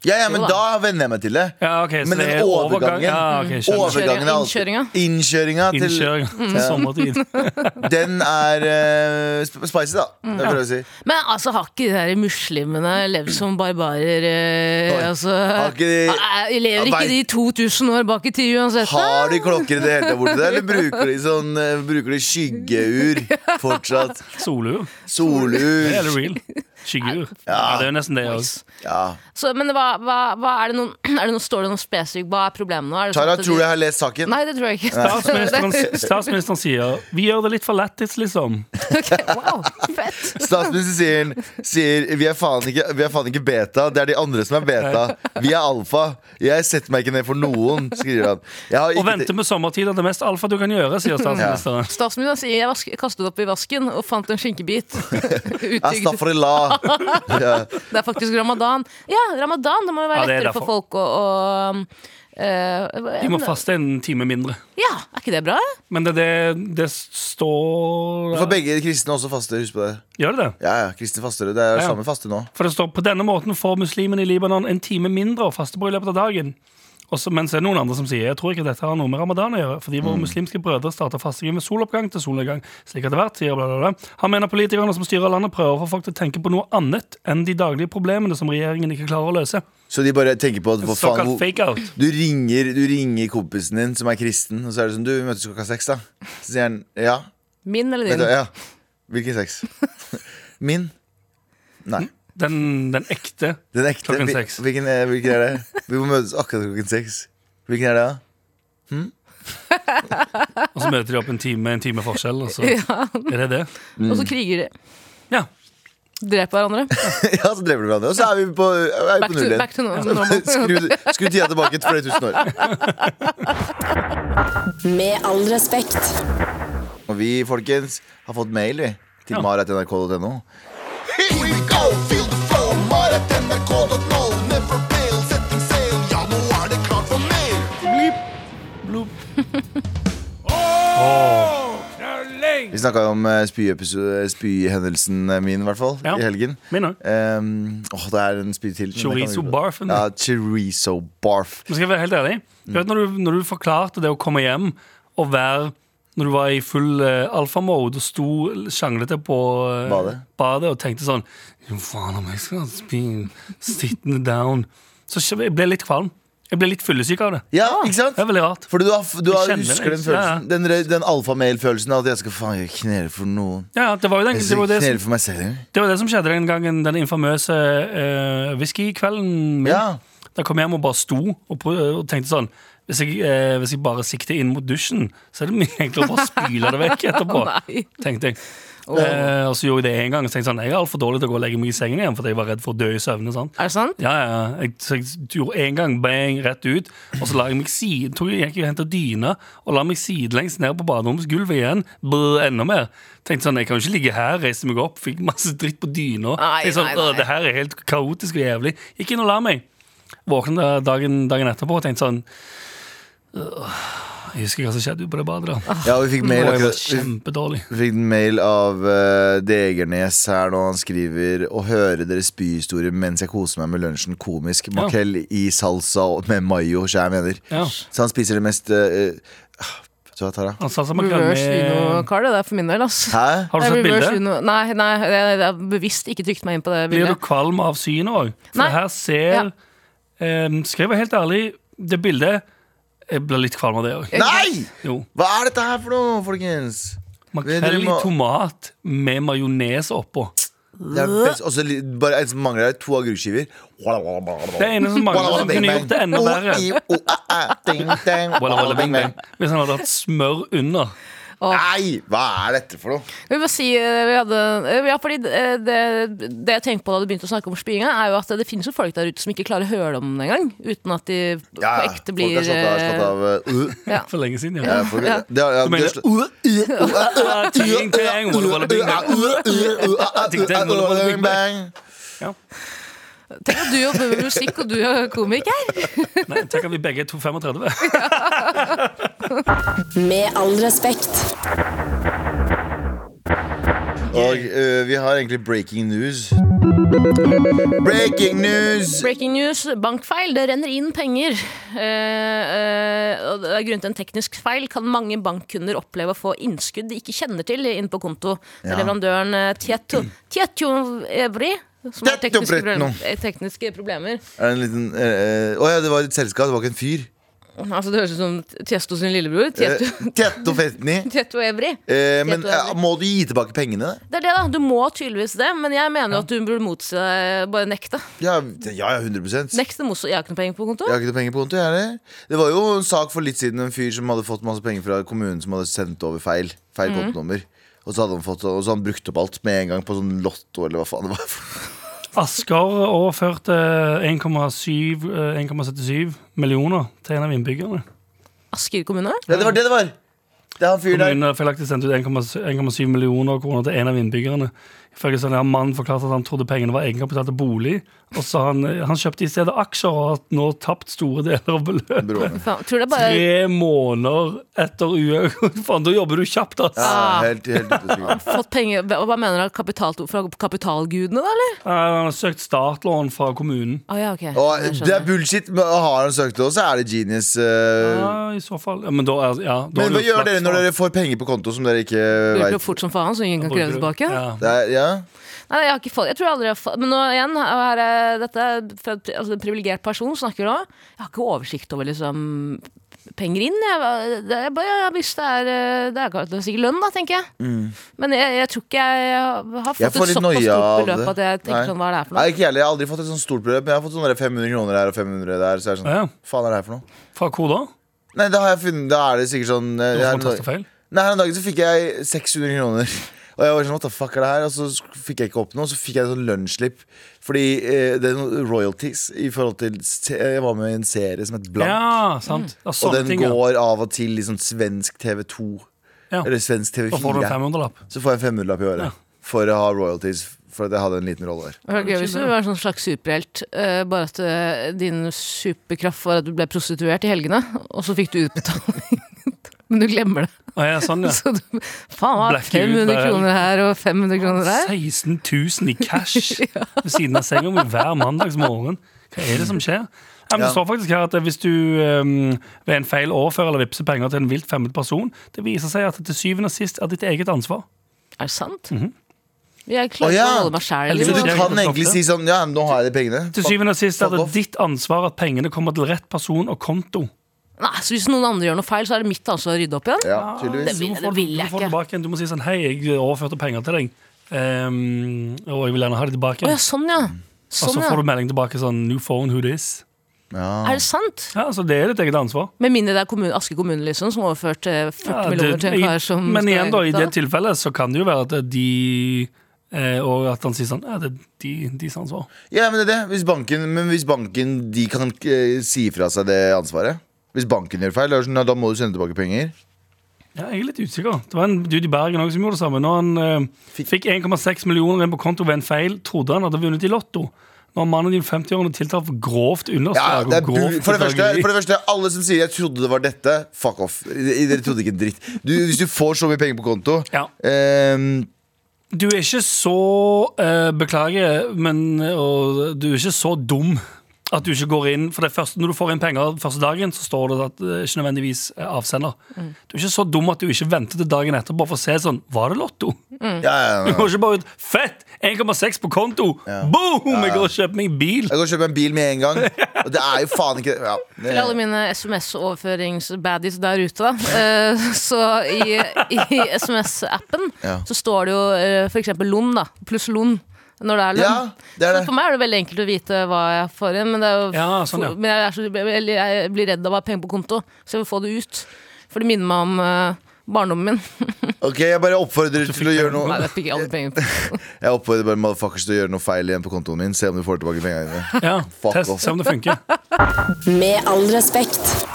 S1: Ja, ja, men
S3: Jo da.
S1: da venner jeg meg til det.
S2: Ja, ok, så
S1: Men
S2: det
S1: den
S2: er overgang.
S1: overgangen-
S2: Ja, ok, skjønner.
S1: Overgangen er alltid
S3: Innkjøringa.
S1: Innkjøringa til
S2: Innkjøring til sommertid.
S1: Den er eh, sp- spicy, da. Det prøver jeg å si.
S3: Men altså, har ikke de der muslimene levd som barbarer? eh,
S1: Oi.
S3: altså,
S1: Har ikke de-
S3: Eh, lever
S1: Ja,
S3: ikke
S1: vei-
S3: de 2000 år bak i tid uansett? da?
S1: Har de klokker i det hele tatt borti der, eller bruker de, sånn, eh, bruker de skyggeur fortsatt?
S2: Solur. Det er det
S1: Solur.
S2: real. Skyggur. Ja, det er jo nesten det òg.
S1: Ja.
S3: Så, men hva, hva, hva er det noen, er det noen, står det noe spesifikt? Hva er problemet nå? Er det sånn
S1: Tara,
S3: at de-
S1: tror du jeg har lest saken?
S3: Nei, det tror jeg ikke.
S2: Statsministeren, statsministeren sier Vi gjør det litt for lættis, liksom.
S3: Wow, fett.
S1: Statsminister sier, sier vi, er faen ikke, vi er faen ikke beta, det er de andre som er beta. Vi er alfa. Jeg setter meg ikke ned for noen, skriver han. Jeg har
S2: Å
S1: ikke
S2: vente med sommertid er det mest alfa du kan gjøre, sier statsministeren.
S3: Statsministeren sier jeg vask, kastet det opp i vasken og fant en skinkebit. Uttygd.
S1: Astafrillah. Ja.
S3: Det er faktisk ramadan. Ja, ramadan. Det må jo
S2: Ja,
S3: være
S2: det er
S3: lettere for
S2: derfor.
S3: folk å, å um, eh,
S2: De må faste en time mindre.
S3: Ja, er ikke det bra?
S2: Men det, det, det står
S1: For begge kristne også faster, husk på det.
S2: Gjør det det?
S1: Ja, ja, kristne faster. Det er
S2: Ja.
S1: samme faste nå.
S2: For det står på denne måten får muslimene i Libanon en time mindre å faste på i løpet av dagen. Også, mens det er noen andre som sier Jeg tror ikke dette har noe med ramadan å gjøre, fordi
S1: Mm.
S2: våre muslimske brødre starter fastingen ved soloppgang til solnedgang. Slik har det vært, sier bla, bla, bla. Han mener politikerne som styrer landet, prøver å få folk til å tenke på noe annet enn de daglige problemene som regjeringen ikke klarer å løse.
S1: Så de bare tenker på at hva faen,
S2: Såkalt
S1: hvor-
S2: fake-out.
S1: Du ringer, du ringer kompisen din som er kristen, og så er det sånn Du, vi møtes klokka seks, da. Så sier han ja.
S3: Min eller
S1: Vet du,
S3: din?
S1: ja. Hvilken sex? Min? Nei.
S2: Den, den ekte.
S1: Den ekte.
S2: Klokken
S1: Hvil-
S2: seks.
S1: Hvilken er, hvilken er det? Vi må møtes akkurat klokken seks. Hvilken er det, da?
S2: Og så møter de opp en time, en time forskjell, og så er det det.
S3: Og
S1: Mm.
S3: så kriger de.
S2: Ja.
S3: Dreper hverandre.
S1: Ja, så dreper du hverandre. Og så er vi på, eh, er vi
S3: Back
S1: på
S3: to,
S1: null
S3: back to
S1: igjen.
S3: normal.
S1: Skru, skru tida tilbake til flere tusen år.
S4: Med all respekt.
S1: Og vi, folkens, har fått mail, vi. Til
S2: Ja.
S1: maratnrk.no.
S5: Here we go, feel the flow. Maratnrk.no, never fail. Setting sail, ja, nå er det klart for mer.
S1: Vi snakka jo om eh, spyepisode- spyhendelsen eh, min, i hvert fall.
S2: Ja.
S1: I helgen.
S2: Min òg.
S1: Um, åh, det er en spyd til. men det kan vi
S2: Chorizo
S1: ikke-
S2: barfen.
S1: Ja, chorizo barf.
S2: Men skal jeg være helt ærlig
S1: Mm.
S2: du vet, når, du, når du forklarte det å komme hjem og være Når du var i full eh, alfamode og sto sjanglete på eh,
S1: Badet.
S2: badet og tenkte sånn "Jo, Faen om jeg skal spy sittende down Så skj- jeg ble litt kvalm. Jeg ble litt fyllesyk av det.
S1: Ja, ikke sant?
S2: Det er veldig rart.
S1: Fordi du, har, du har,
S2: Jeg
S1: husker
S2: kjenner det.
S1: den
S2: Ja, ja.
S1: følelsen Den, re- den alfamel-følelsen av at jeg skal faen jeg knele for noen.
S2: Ja, ja, det var jo den,
S1: Jeg
S2: det,
S1: skal
S2: var jo
S1: ikke
S2: det,
S1: knele
S2: som,
S1: for meg selv engang.
S2: det var det som skjedde den gangen den infamøse eh, whiskykvelden min.
S1: Ja.
S2: Da kom jeg hjem og bare sto og, prøv- og tenkte sånn hvis jeg, eh, hvis jeg bare sikter inn mot dusjen, så er det mye enklere å bare spyle det vekk etterpå.
S3: Nei.
S2: tenkte jeg. Eh, og så gjorde jeg det en gang og tenkte sånn, jeg er altfor dårlig til å gå og legge meg i sengen igjen fordi jeg var redd for å dø i søvne. sant?
S3: Er det sant?
S2: Ja, ja, ja. Jeg, så jeg gjorde en gang bang, rett ut, og så la jeg meg side, tok, jeg gikk jeg og hentet dyna og la meg sidelengs ned på baderomsgulvet igjen. Brr, enda mer. Tenkte sånn, jeg kan jo ikke ligge her, reiste meg opp, fikk masse dritt på dyna.
S3: Nei,
S2: Tenkte sånn,
S3: nei, nei.
S2: «Åh, det her er helt kaotisk og jævlig. Gikk inn og la meg. Våknet dagen, dagen etterpå og tenkte sånn, «Åh, jeg husker hva som skjedde på det badet da.
S1: ja, vi fikk
S2: Det
S1: mail,
S2: var jo
S1: akkurat, vi
S2: kjempedårlig.
S1: fikk en mail av eh, Degernes her nå. Han skriver å høre deres spyhistorier mens jeg koser meg med lunsjen. Komisk. Makrell i salsa og med mayo, så jeg mener.
S2: Ja.
S1: Så han spiser det mest eh, ah, Vet du hva, Tara?
S2: Han sa som en
S3: Reverse
S2: grønne...
S3: Vino-Carl, det er for min del, ass.
S1: Hæ?
S2: Har du sett
S3: Jeg reverse
S2: bildet?
S3: Vino- Nei, nei, jeg jeg har bevisst ikke trykt meg inn på det
S2: Blir du
S3: bildet.
S2: kvalm av synet òg? For
S3: Nei.
S2: det her ser
S3: Ja.
S2: ehm, Skal jeg være helt ærlig, det bildet Jeg blir litt kvalm av det òg.
S1: Nei!
S2: Jo.
S1: Hva er dette her for noe, folkens?
S2: Makrell i tomat med majones oppå.
S1: Det er best, også, li- bare en som mangler her, to agurkskiver.
S2: Det ene som mangler, som kunne gjort det enda verre. Walla, walla, bing, bang.
S1: Nei,
S2: Hvis han hadde hatt smør under.
S1: hva er dette for noe?
S3: Vi må si, eh, vi hadde, eh, ja, fordi eh, det, det jeg tenkte på da du begynte å snakke om spyinga, er jo at det finnes jo folk der ute som ikke klarer å høre om den engang. Uten at de på
S1: Ja,
S3: ekte blir
S1: Folk har slått av, slått
S3: eh,
S1: av uh,
S3: ja.
S2: For lenge siden,
S1: ja,
S2: ja.
S1: folk, ja. Det, har- ja, de
S2: Du
S1: har
S2: mener
S1: slått-
S2: Ah, ting, ting, walla, walla, bing, bang. Ting, ting, walla, walla, bing, bang. Ja.
S3: Tenk at du jobber med musikk, og du er komiker.
S2: Nei, Tenk at vi begge er 2,35.
S4: Med all respekt.
S1: Og eh, vi har egentlig breaking news. Breaking news!
S3: Breaking news, bankfeil. Det renner inn penger. Eh, eh, og det er grunnet en teknisk feil kan mange bankkunder oppleve å få innskudd de ikke kjenner til, inn på konto. Det er
S1: Ja.
S3: Leverandøren eh, Tieto Tieto Evry, som har
S1: Tieto
S3: tekniske,
S1: Bretno.
S3: proble- eh, tekniske problemer.
S1: Er det en liten eh, eh, Å ja, det var et selskap, det var ikke en fyr.
S3: Altså, det høres ut som Tiesto sin lillebror.
S1: Eh,
S3: Tieto,
S1: Tetto Fetni.
S3: Tieto Evry.
S1: Eh, men
S3: Tieto Evry.
S1: eh, må du gi tilbake pengene?
S3: Det er det, da. Du må tydeligvis det, men jeg mener jo at du burde motsi deg. Bare nekte.
S1: Ja, ja, ja 100
S3: Nekte motstå. Jeg har ikke noe penger på konto.
S1: Jeg har ikke noe penger på konto. jeg heller. Det var jo en sak for litt siden en fyr som hadde fått masse penger fra kommunen som hadde sendt over feil, feil
S3: Mhm.
S1: kontonummer. Og så hadde han fått, og så hadde han brukt opp alt med en gang på sånn lotto eller hva faen det var.
S2: Asker overførte 1,7, eh, 1,77 millioner til en av innbyggerne.
S3: Asker kommune?
S1: Ja, det var det det var! Det er han fyren der.
S2: Kommunen har feilaktig sendt ut 1,7 millioner kroner til en av innbyggerne. Ifølge sånn her mannen forklarte at han trodde pengene var egenkapital til bolig. Og så han, han kjøpte i stedet aksjer og har nå tapt store deler av beløpet.
S1: Broren.
S3: Faen, tror det er bare
S2: Tre måneder etter uhøyet. Faen, da jobber du kjapt, ass!
S1: Ja,
S3: Ah.
S1: helt, helt utrolig.
S3: fått penger Hva hva mener du? Kapital, fra kapitalgudene, da, eller?
S2: Eh, Han har søkt startlån fra kommunen.
S3: Å ja, ok.
S1: Og
S3: Jeg
S1: det er
S3: skjønner.
S1: bullshit, men har han søkt det også, er det genius. eh.
S3: Ah.
S2: Ja, I så fall. Ja, men da er ja, da
S1: men hva
S2: er det jo
S1: gjør dere
S2: flaks,
S1: når
S2: faen.
S1: dere får penger på konto som dere ikke
S3: Du blir
S1: veit?
S3: fort som faen, så ingen kan kreve tilbake.
S2: Ja.
S1: Det er, ja.
S3: Nei, jeg har ikke fått Jeg tror aldri jeg har fått Men nå igjen, her er, dette er fra en pri- altså, en privilegert person snakker nå. Jeg har ikke oversikt over liksom penger inn. Jeg, var- det- jeg bare, ja, hvis det er eh, Det er ikke- det er sikkert lønn, da, tenker jeg. Men jeg, jeg tror ikke jeg, jeg har
S1: Mm. Jeg
S3: fått
S1: får
S3: et
S1: litt
S3: såpass
S1: noia
S3: stort
S1: av
S3: beløp
S1: det.
S3: at jeg tenker
S1: Nei.
S3: sånn, hva er det her for
S1: Nei,
S3: noe?
S1: ikke jeg heller. Jeg har aldri fått et sånt stort beløp, men jeg har fått sånn sånne 500 kroner her og 500 der. Så er det sånn,
S2: Ja.
S1: faen er det her for noe?
S2: Fra hvor da?
S1: Nei, da har jeg funnet, da er det sikkert sånn eh,
S2: Du
S1: jeg
S2: får
S1: har-
S2: tastefeil.
S1: Nei, her om dagen så fikk jeg 600 kroner. Og jeg var sånn, what the fuck er det her? Og så sk- fikk jeg ikke opp noe, og så fikk jeg sånn lønnsslipp. Fordi eh, det er noen royalties i forhold til se- Jeg var med i en serie som het Blank.
S2: Ja, sant.
S1: Mm.
S2: Ja,
S1: og
S2: sånne
S1: den
S2: ting, ja.
S1: går av og til i sånn svensk TV2.
S2: Ja.
S1: Eller svensk
S2: Da får du
S1: TV4.
S2: en 500-lapp.
S1: Så får jeg en 500-lapp i året for å ha royalties. For at jeg hadde en liten rolle der.
S3: Det var gøy hvis du var en sånn slags superhelt, eh, bare at eh, din superkraft var at du ble prostituert i helgene, og så fikk du utbetaling. Men du glemmer det.
S2: Å, ja, sånn, ja.
S3: Så du, faen, hva,
S2: Blacker ut
S3: 500
S2: hver helg.
S3: kroner her og 500 kroner der?
S2: 16 000 i cash ved siden av senga mi hver mandagsmorgen. Hva er det som skjer? Ja, men
S1: Ja.
S2: Det står faktisk her at Hvis du ehm, ved en feil overfører eller vippser penger til en vilt fremmed person, det viser seg at det til syvende og sist er ditt eget ansvar.
S3: Er det sant?
S2: Mhm.
S3: Jeg
S1: Å,
S3: klarer ikke
S1: ja.
S3: å holde meg liksom. sjæl.
S1: Så
S2: det
S1: du
S2: er
S1: kan
S2: ikke
S1: egentlig
S2: ofte.
S1: si sånn Ja, men nå har jeg de pengene.
S2: Til syvende og sist er det
S1: Fuck off.
S2: ditt ansvar at pengene kommer til rett person og konto.
S3: Nei, så hvis noen andre gjør noe feil, så er det mitt ansvar å rydde opp igjen?
S1: Ja, tydeligvis.
S3: vil-
S2: Så
S3: det
S2: får du-
S3: vil jeg
S2: du får
S3: ikke.
S2: tilbake igjen. Du må si sånn Hei, jeg overførte penger til deg, ehm, og jeg vil gjerne ha det tilbake.
S3: Å ja, sånn ja.
S2: Mm. og så
S3: Sånn,
S2: får du
S3: ja.
S2: melding tilbake sånn New phone, who this?
S3: Er det sant?
S2: Ja, så det er ditt eget ansvar.
S3: Med mindre det er kommun- Aske kommune liksom, som overførte 40
S2: Ja, det-
S3: millioner til en
S2: i-
S3: kar som
S2: Men
S3: skal
S2: igjen, da, i
S3: gifte
S2: det tilfellet så kan det jo være at de eh, Og at han sier sånn Ja, det er de, deres ansvar.
S1: Ja, men det er det. Hvis banken, men hvis banken de kan eh, si fra seg det ansvaret Hvis banken gjør feil, da er det sånn, ja, da må du sende tilbake penger.
S2: Ja, jeg er litt usikker. Det var en dude i Bergen også som gjorde det samme. Når han eh, fikk 1,6 millioner inn på konto ved en feil, trodde han hadde vunnet i Lotto. Når mannen din 50-årene tiltalt for grovt
S1: Ja,
S2: underslag
S1: det er
S2: og
S1: bu
S2: grovt
S1: for, det første,
S2: bedrageri.
S1: for det første, alle som sier 'jeg trodde det var dette', fuck off. I- Dere trodde ikke en dritt. Du, hvis du får så mye penger på konto
S2: Ja.
S1: ehm,
S2: Du er ikke så eh, Beklager, men og, du er ikke så dum at du ikke går inn. For det første, når du får inn penger første dagen, så står det at det
S1: Mm.
S2: ikke nødvendigvis er avsender. Du er ikke så dum at du ikke venter til dagen etterpå for å se sånn Var det Lotto?
S3: Mm.
S1: Ja, ja, ja.
S2: Jeg går ikke bare ut Fett! 1,6 på konto! Boom! Jeg går og kjøper meg en bil!
S1: Jeg går og kjøper en bil med en gang. Og det er jo faen ikke ja, det,
S3: Til alle mine SMS-overføringsbaddies der ute, da. Eh, så i, i SMS-appen
S1: Ja.
S3: så står det jo eh, for eksempel Lund, da. Pluss Lund. Når det er
S1: Ja,
S3: Lund.
S1: det er
S3: Så
S1: det.
S3: for meg er det veldig enkelt å vite hva jeg får igjen, men, det er jo,
S2: Ja, sånn, ja.
S3: men jeg, er så, eller jeg blir redd av å ha penger på konto, så jeg vil få det ut. For det minner meg om eh, barndommen min.
S1: Ok, Jeg bare oppfordrer til å gjøre
S3: Nei,
S1: noe
S3: jeg fikk aldri penger. på-
S1: Jeg oppfordrer bare motherfuckers til å gjøre noe feil igjen på kontoen min. Se om du får tilbake pengene dine.
S2: Ja,
S1: Fuck
S2: Test,
S1: off.
S2: se om det funker.
S4: Med all respekt.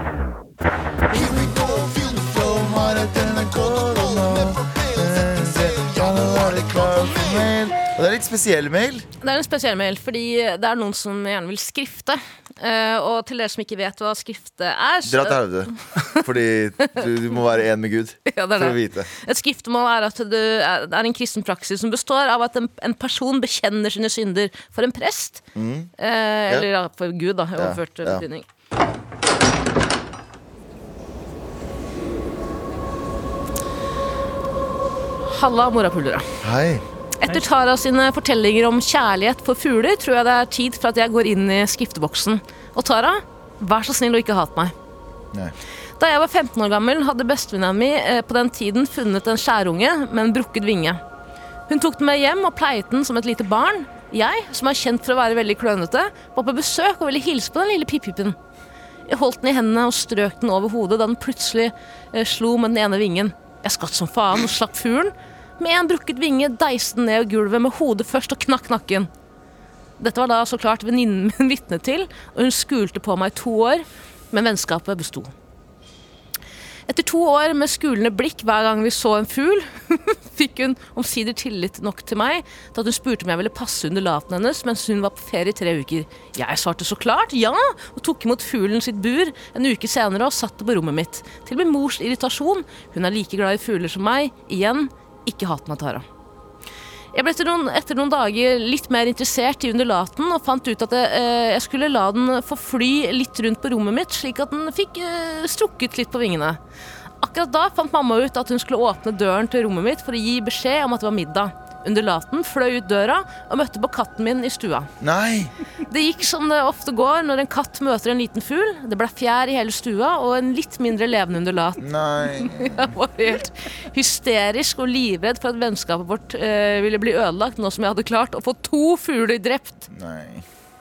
S5: Here we go, feel the flow, har et NRK.no. Never fail, sett en sail, ja, nå er det klart for mer.
S1: Og det er litt spesiell mail.
S3: Det er en spesiell mail, fordi det er noen som gjerne vil skrifte. Eh, og til dere som ikke vet hva skrifte er
S1: Dra til helvete. Fordi du, du må være én med Gud
S3: Ja, det er
S1: for å
S3: det.
S1: vite.
S3: Et skriftemål er at du er det er en kristen praksis som består av at en, en person bekjenner sine synder for en prest. Eh, eller ja. for Gud, da, i overført
S1: Mm. ja.
S3: betydning. Halla, morapulere.
S1: Hei.
S3: Etter Tara sine fortellinger om kjærlighet for fugler, tror jeg det er tid for at jeg går inn i skrifteboksen. Og Tara, vær så snill og ikke hat meg.
S1: Nei.
S3: Da jeg var 15 år gammel, hadde bestevenninna mi eh, på den tiden funnet en skjærunge med en brukket vinge. Hun tok den med hjem og pleiet den som et lite barn. Jeg, som er kjent for å være veldig klønete, var på besøk og ville hilse på den lille pippipen. Jeg holdt den i hendene og strøk den over hodet da den plutselig eh, slo med den ene vingen. Jeg skvatt som faen og slapp fuglen. Med en brukket vinge deiste den ned i gulvet med hodet først og knakk nakken. Dette var da så klart venninnen min vitne til, og hun skulte på meg i to år, men vennskapet besto. Etter to år med skulende blikk hver gang vi så en fugl, fikk hun omsider tillit nok til meg til at hun spurte om jeg ville passe under laten hennes mens hun var på ferie i tre uker. Jeg svarte så klart ja, og tok imot fuglen sitt bur en uke senere og satte på rommet mitt. Til min mors irritasjon. Hun er like glad i fugler som meg. Igjen, ikke hat meg, Tara. Jeg ble etter noen, etter noen dager litt mer interessert i undulaten og fant ut at jeg, eh, jeg skulle la den få fly litt rundt på rommet mitt, slik at den fikk eh, strukket litt på vingene. Akkurat da fant mamma ut at hun skulle åpne døren til rommet mitt for å gi beskjed om at det var middag. Undulaten fløy ut døra og møtte på katten min i stua.
S1: Nei.
S3: Det gikk som det ofte går når en katt møter en liten fugl. Det ble fjær i hele stua og en litt mindre levende undulat.
S1: Nei.
S3: Jeg var helt hysterisk og livredd for at vennskapet vårt eh, ville bli ødelagt nå som jeg hadde klart å få to fugler drept.
S1: Nei.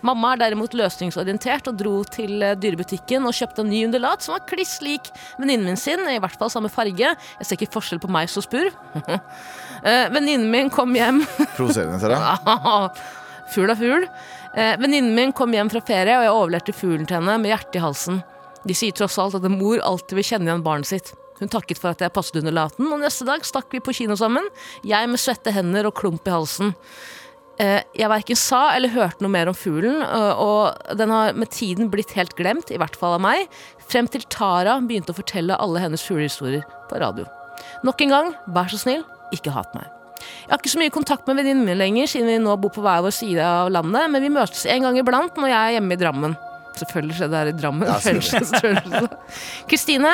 S3: Mamma er derimot løsningsorientert og dro til eh, dyrebutikken og kjøpte en ny undulat som var kliss lik venninnen min sin, i hvert fall samme farge. Jeg ser ikke forskjell på meg og spurv. Eh, venninnen min kom hjem
S1: Provoserende, Tara.
S3: Fugl er fugl. Eh, venninnen min kom hjem fra ferie, og jeg overleverte fuglen til henne med hjertet i halsen. De sier tross alt at en mor alltid vil kjenne igjen barnet sitt. Hun takket for at jeg passet under laten, og neste dag stakk vi på kino sammen. Jeg med svette hender og klump i halsen. Eh, jeg verken sa eller hørte noe mer om fuglen, eh, og den har med tiden blitt helt glemt, i hvert fall av meg, frem til Tara begynte å fortelle alle hennes fuglehistorier på radio. Nok en gang, vær så snill, ikke hat meg. Jeg har ikke så mye kontakt med venninnen min lenger, siden vi nå bor på hver vår side av landet, men vi møtes en gang iblant når jeg er hjemme i Drammen. Selvfølgelig skjedde det her i Drammen.
S1: Ja,
S3: selvfølgelig. Selvfølgelig. Kristine,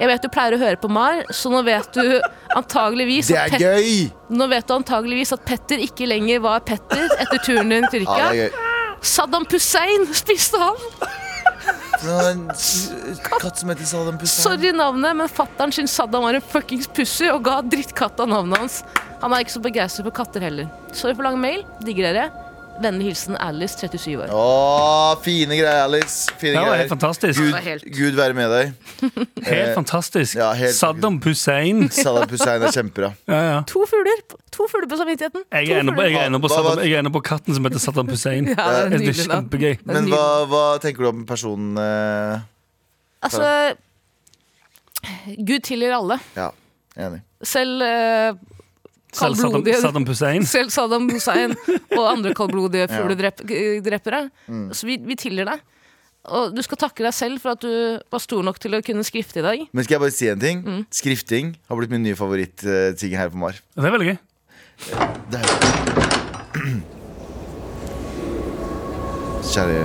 S3: jeg vet du pleier å høre på Mar, så nå vet du antageligvis
S1: Det er
S3: at Pet-
S1: gøy!
S3: nå vet du antageligvis at Petter ikke lenger var Petter etter turen din til
S1: Ja, det
S3: Tyrkia.
S1: er gøy.
S3: Saddam Hussein spiste han!
S1: Det var en s- katt som heter Saddam Hussein.
S3: Sorry navnet, men fattern syntes Saddam var en fuckings pussy og ga drittkatta navnet hans. Han er ikke så begeistret for katter heller. Sorry for lang mail. Digger dere. Vennlig hilsen Alice, 37 år.
S1: Å, fine greier, Alice. Fine
S2: Det var
S1: greier.
S2: helt fantastisk.
S1: Gud,
S3: var helt-
S1: Gud være med deg.
S2: Helt fantastisk.
S1: ja, helt-
S2: Saddam Hussein.
S1: Saddam Hussein er kjempebra.
S2: Ja, ja.
S3: To fugler To fugler på samvittigheten.
S2: Jeg
S3: To
S2: er ennå på, jeg
S3: fugler.
S2: er ennå på,
S1: Hva- hva-
S2: Saddam, jeg er ennå på katten som heter Saddam Hussein.
S3: Ja, det er
S2: Det er
S3: nydelig navn.
S2: kjempegøy.
S1: Men hva, hva tenker du om personen eh,
S3: Altså, Gud tilgir alle.
S1: Ja, enig.
S3: Selv eh,
S2: Selv Saddam,
S3: Kaldblodige-
S2: Saddam Hussein.
S3: Selv Saddam Hussein og andre kaldblodige fugledrepere.
S1: Mm.
S3: Så vi, vi tilgir deg. Og du skal takke deg selv for at du var stor nok til å kunne skrifte i dag.
S1: Men skal jeg bare si en ting?
S3: Mm.
S1: Skrifting har blitt min nye favorittting her på Mar.
S2: Det er veldig gøy.
S1: Det er... Kjære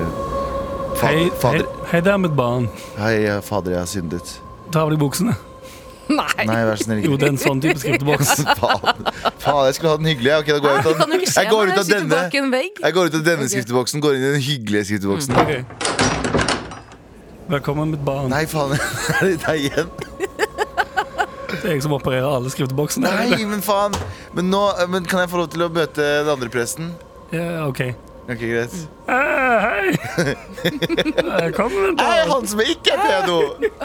S1: fa
S2: Hei, hei,
S1: fader
S2: hei der, mitt barn.
S1: Hei, fader, jeg har syndet.
S2: Ta av deg buksene.
S3: Nei.
S1: Nei, vær så snill.
S2: Jo, det er en sånn type skrifteboks.
S1: Faen, faen, jeg skulle ha den hyggelige. Ok, da går jeg
S3: Du
S1: ut av
S3: kan jo
S1: den.
S3: ikke se
S1: Jeg går ut
S3: meg, jeg
S1: av
S3: sitter
S1: denne,
S3: bak en vegg.
S1: jeg går ut av denne skrifteboksen, går inn i den hyggelige skrifteboksen.
S3: Mm.
S2: Ok. Velkommen, mitt barn.
S1: Nei, faen. Er det deg igjen?
S2: Det er jeg som opererer alle skrifteboksene.
S1: Nei, men faen. Men nå men kan jeg få lov til å møte den andre presten?
S2: Ja, ok.
S1: Ok, greit.
S3: Mm.
S2: Eh, Hei! Velkommen,
S1: Hei,
S2: barn.
S1: han som ikke er pedo!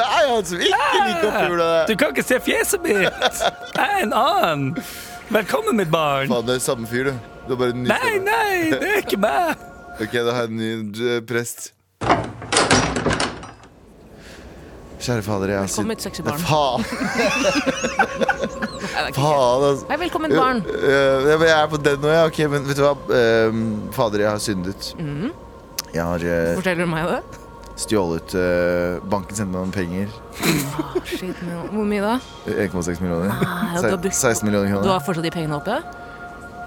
S1: Hei, han som ikke liker å pule
S2: Du
S1: deg.
S2: kan ikke se fjeset mitt! Jeg er en annen. Velkommen, mitt barn.
S1: Faen, det er samme fyr, du. Du har bare en ny
S2: Nei,
S1: stemme.
S2: nei, det er ikke meg.
S1: Ok, da har jeg en ny eh, prest. Kjære fader, jeg har
S3: Velkommen, mitt sexy barn.
S1: Faen,
S3: Nei, det er ikke helt.
S1: faen, altså.
S3: Hei, velkommen, barn.
S1: Jo, øh, jeg er på den nå, ja. Ok, men vet du hva? Ehm, fader, jeg har syndet. Jeg har øh,
S3: Forteller du meg Mhm. det?
S1: stjålet øh, Banken sendte meg noen penger. Eh,
S3: Shit, men Hvor mye da?
S1: 1,6 millioner.
S3: Ah, ja, du har brukt-
S1: Se- 16 millioner
S3: Du
S1: kroner.
S3: har fortsatt de pengene oppe?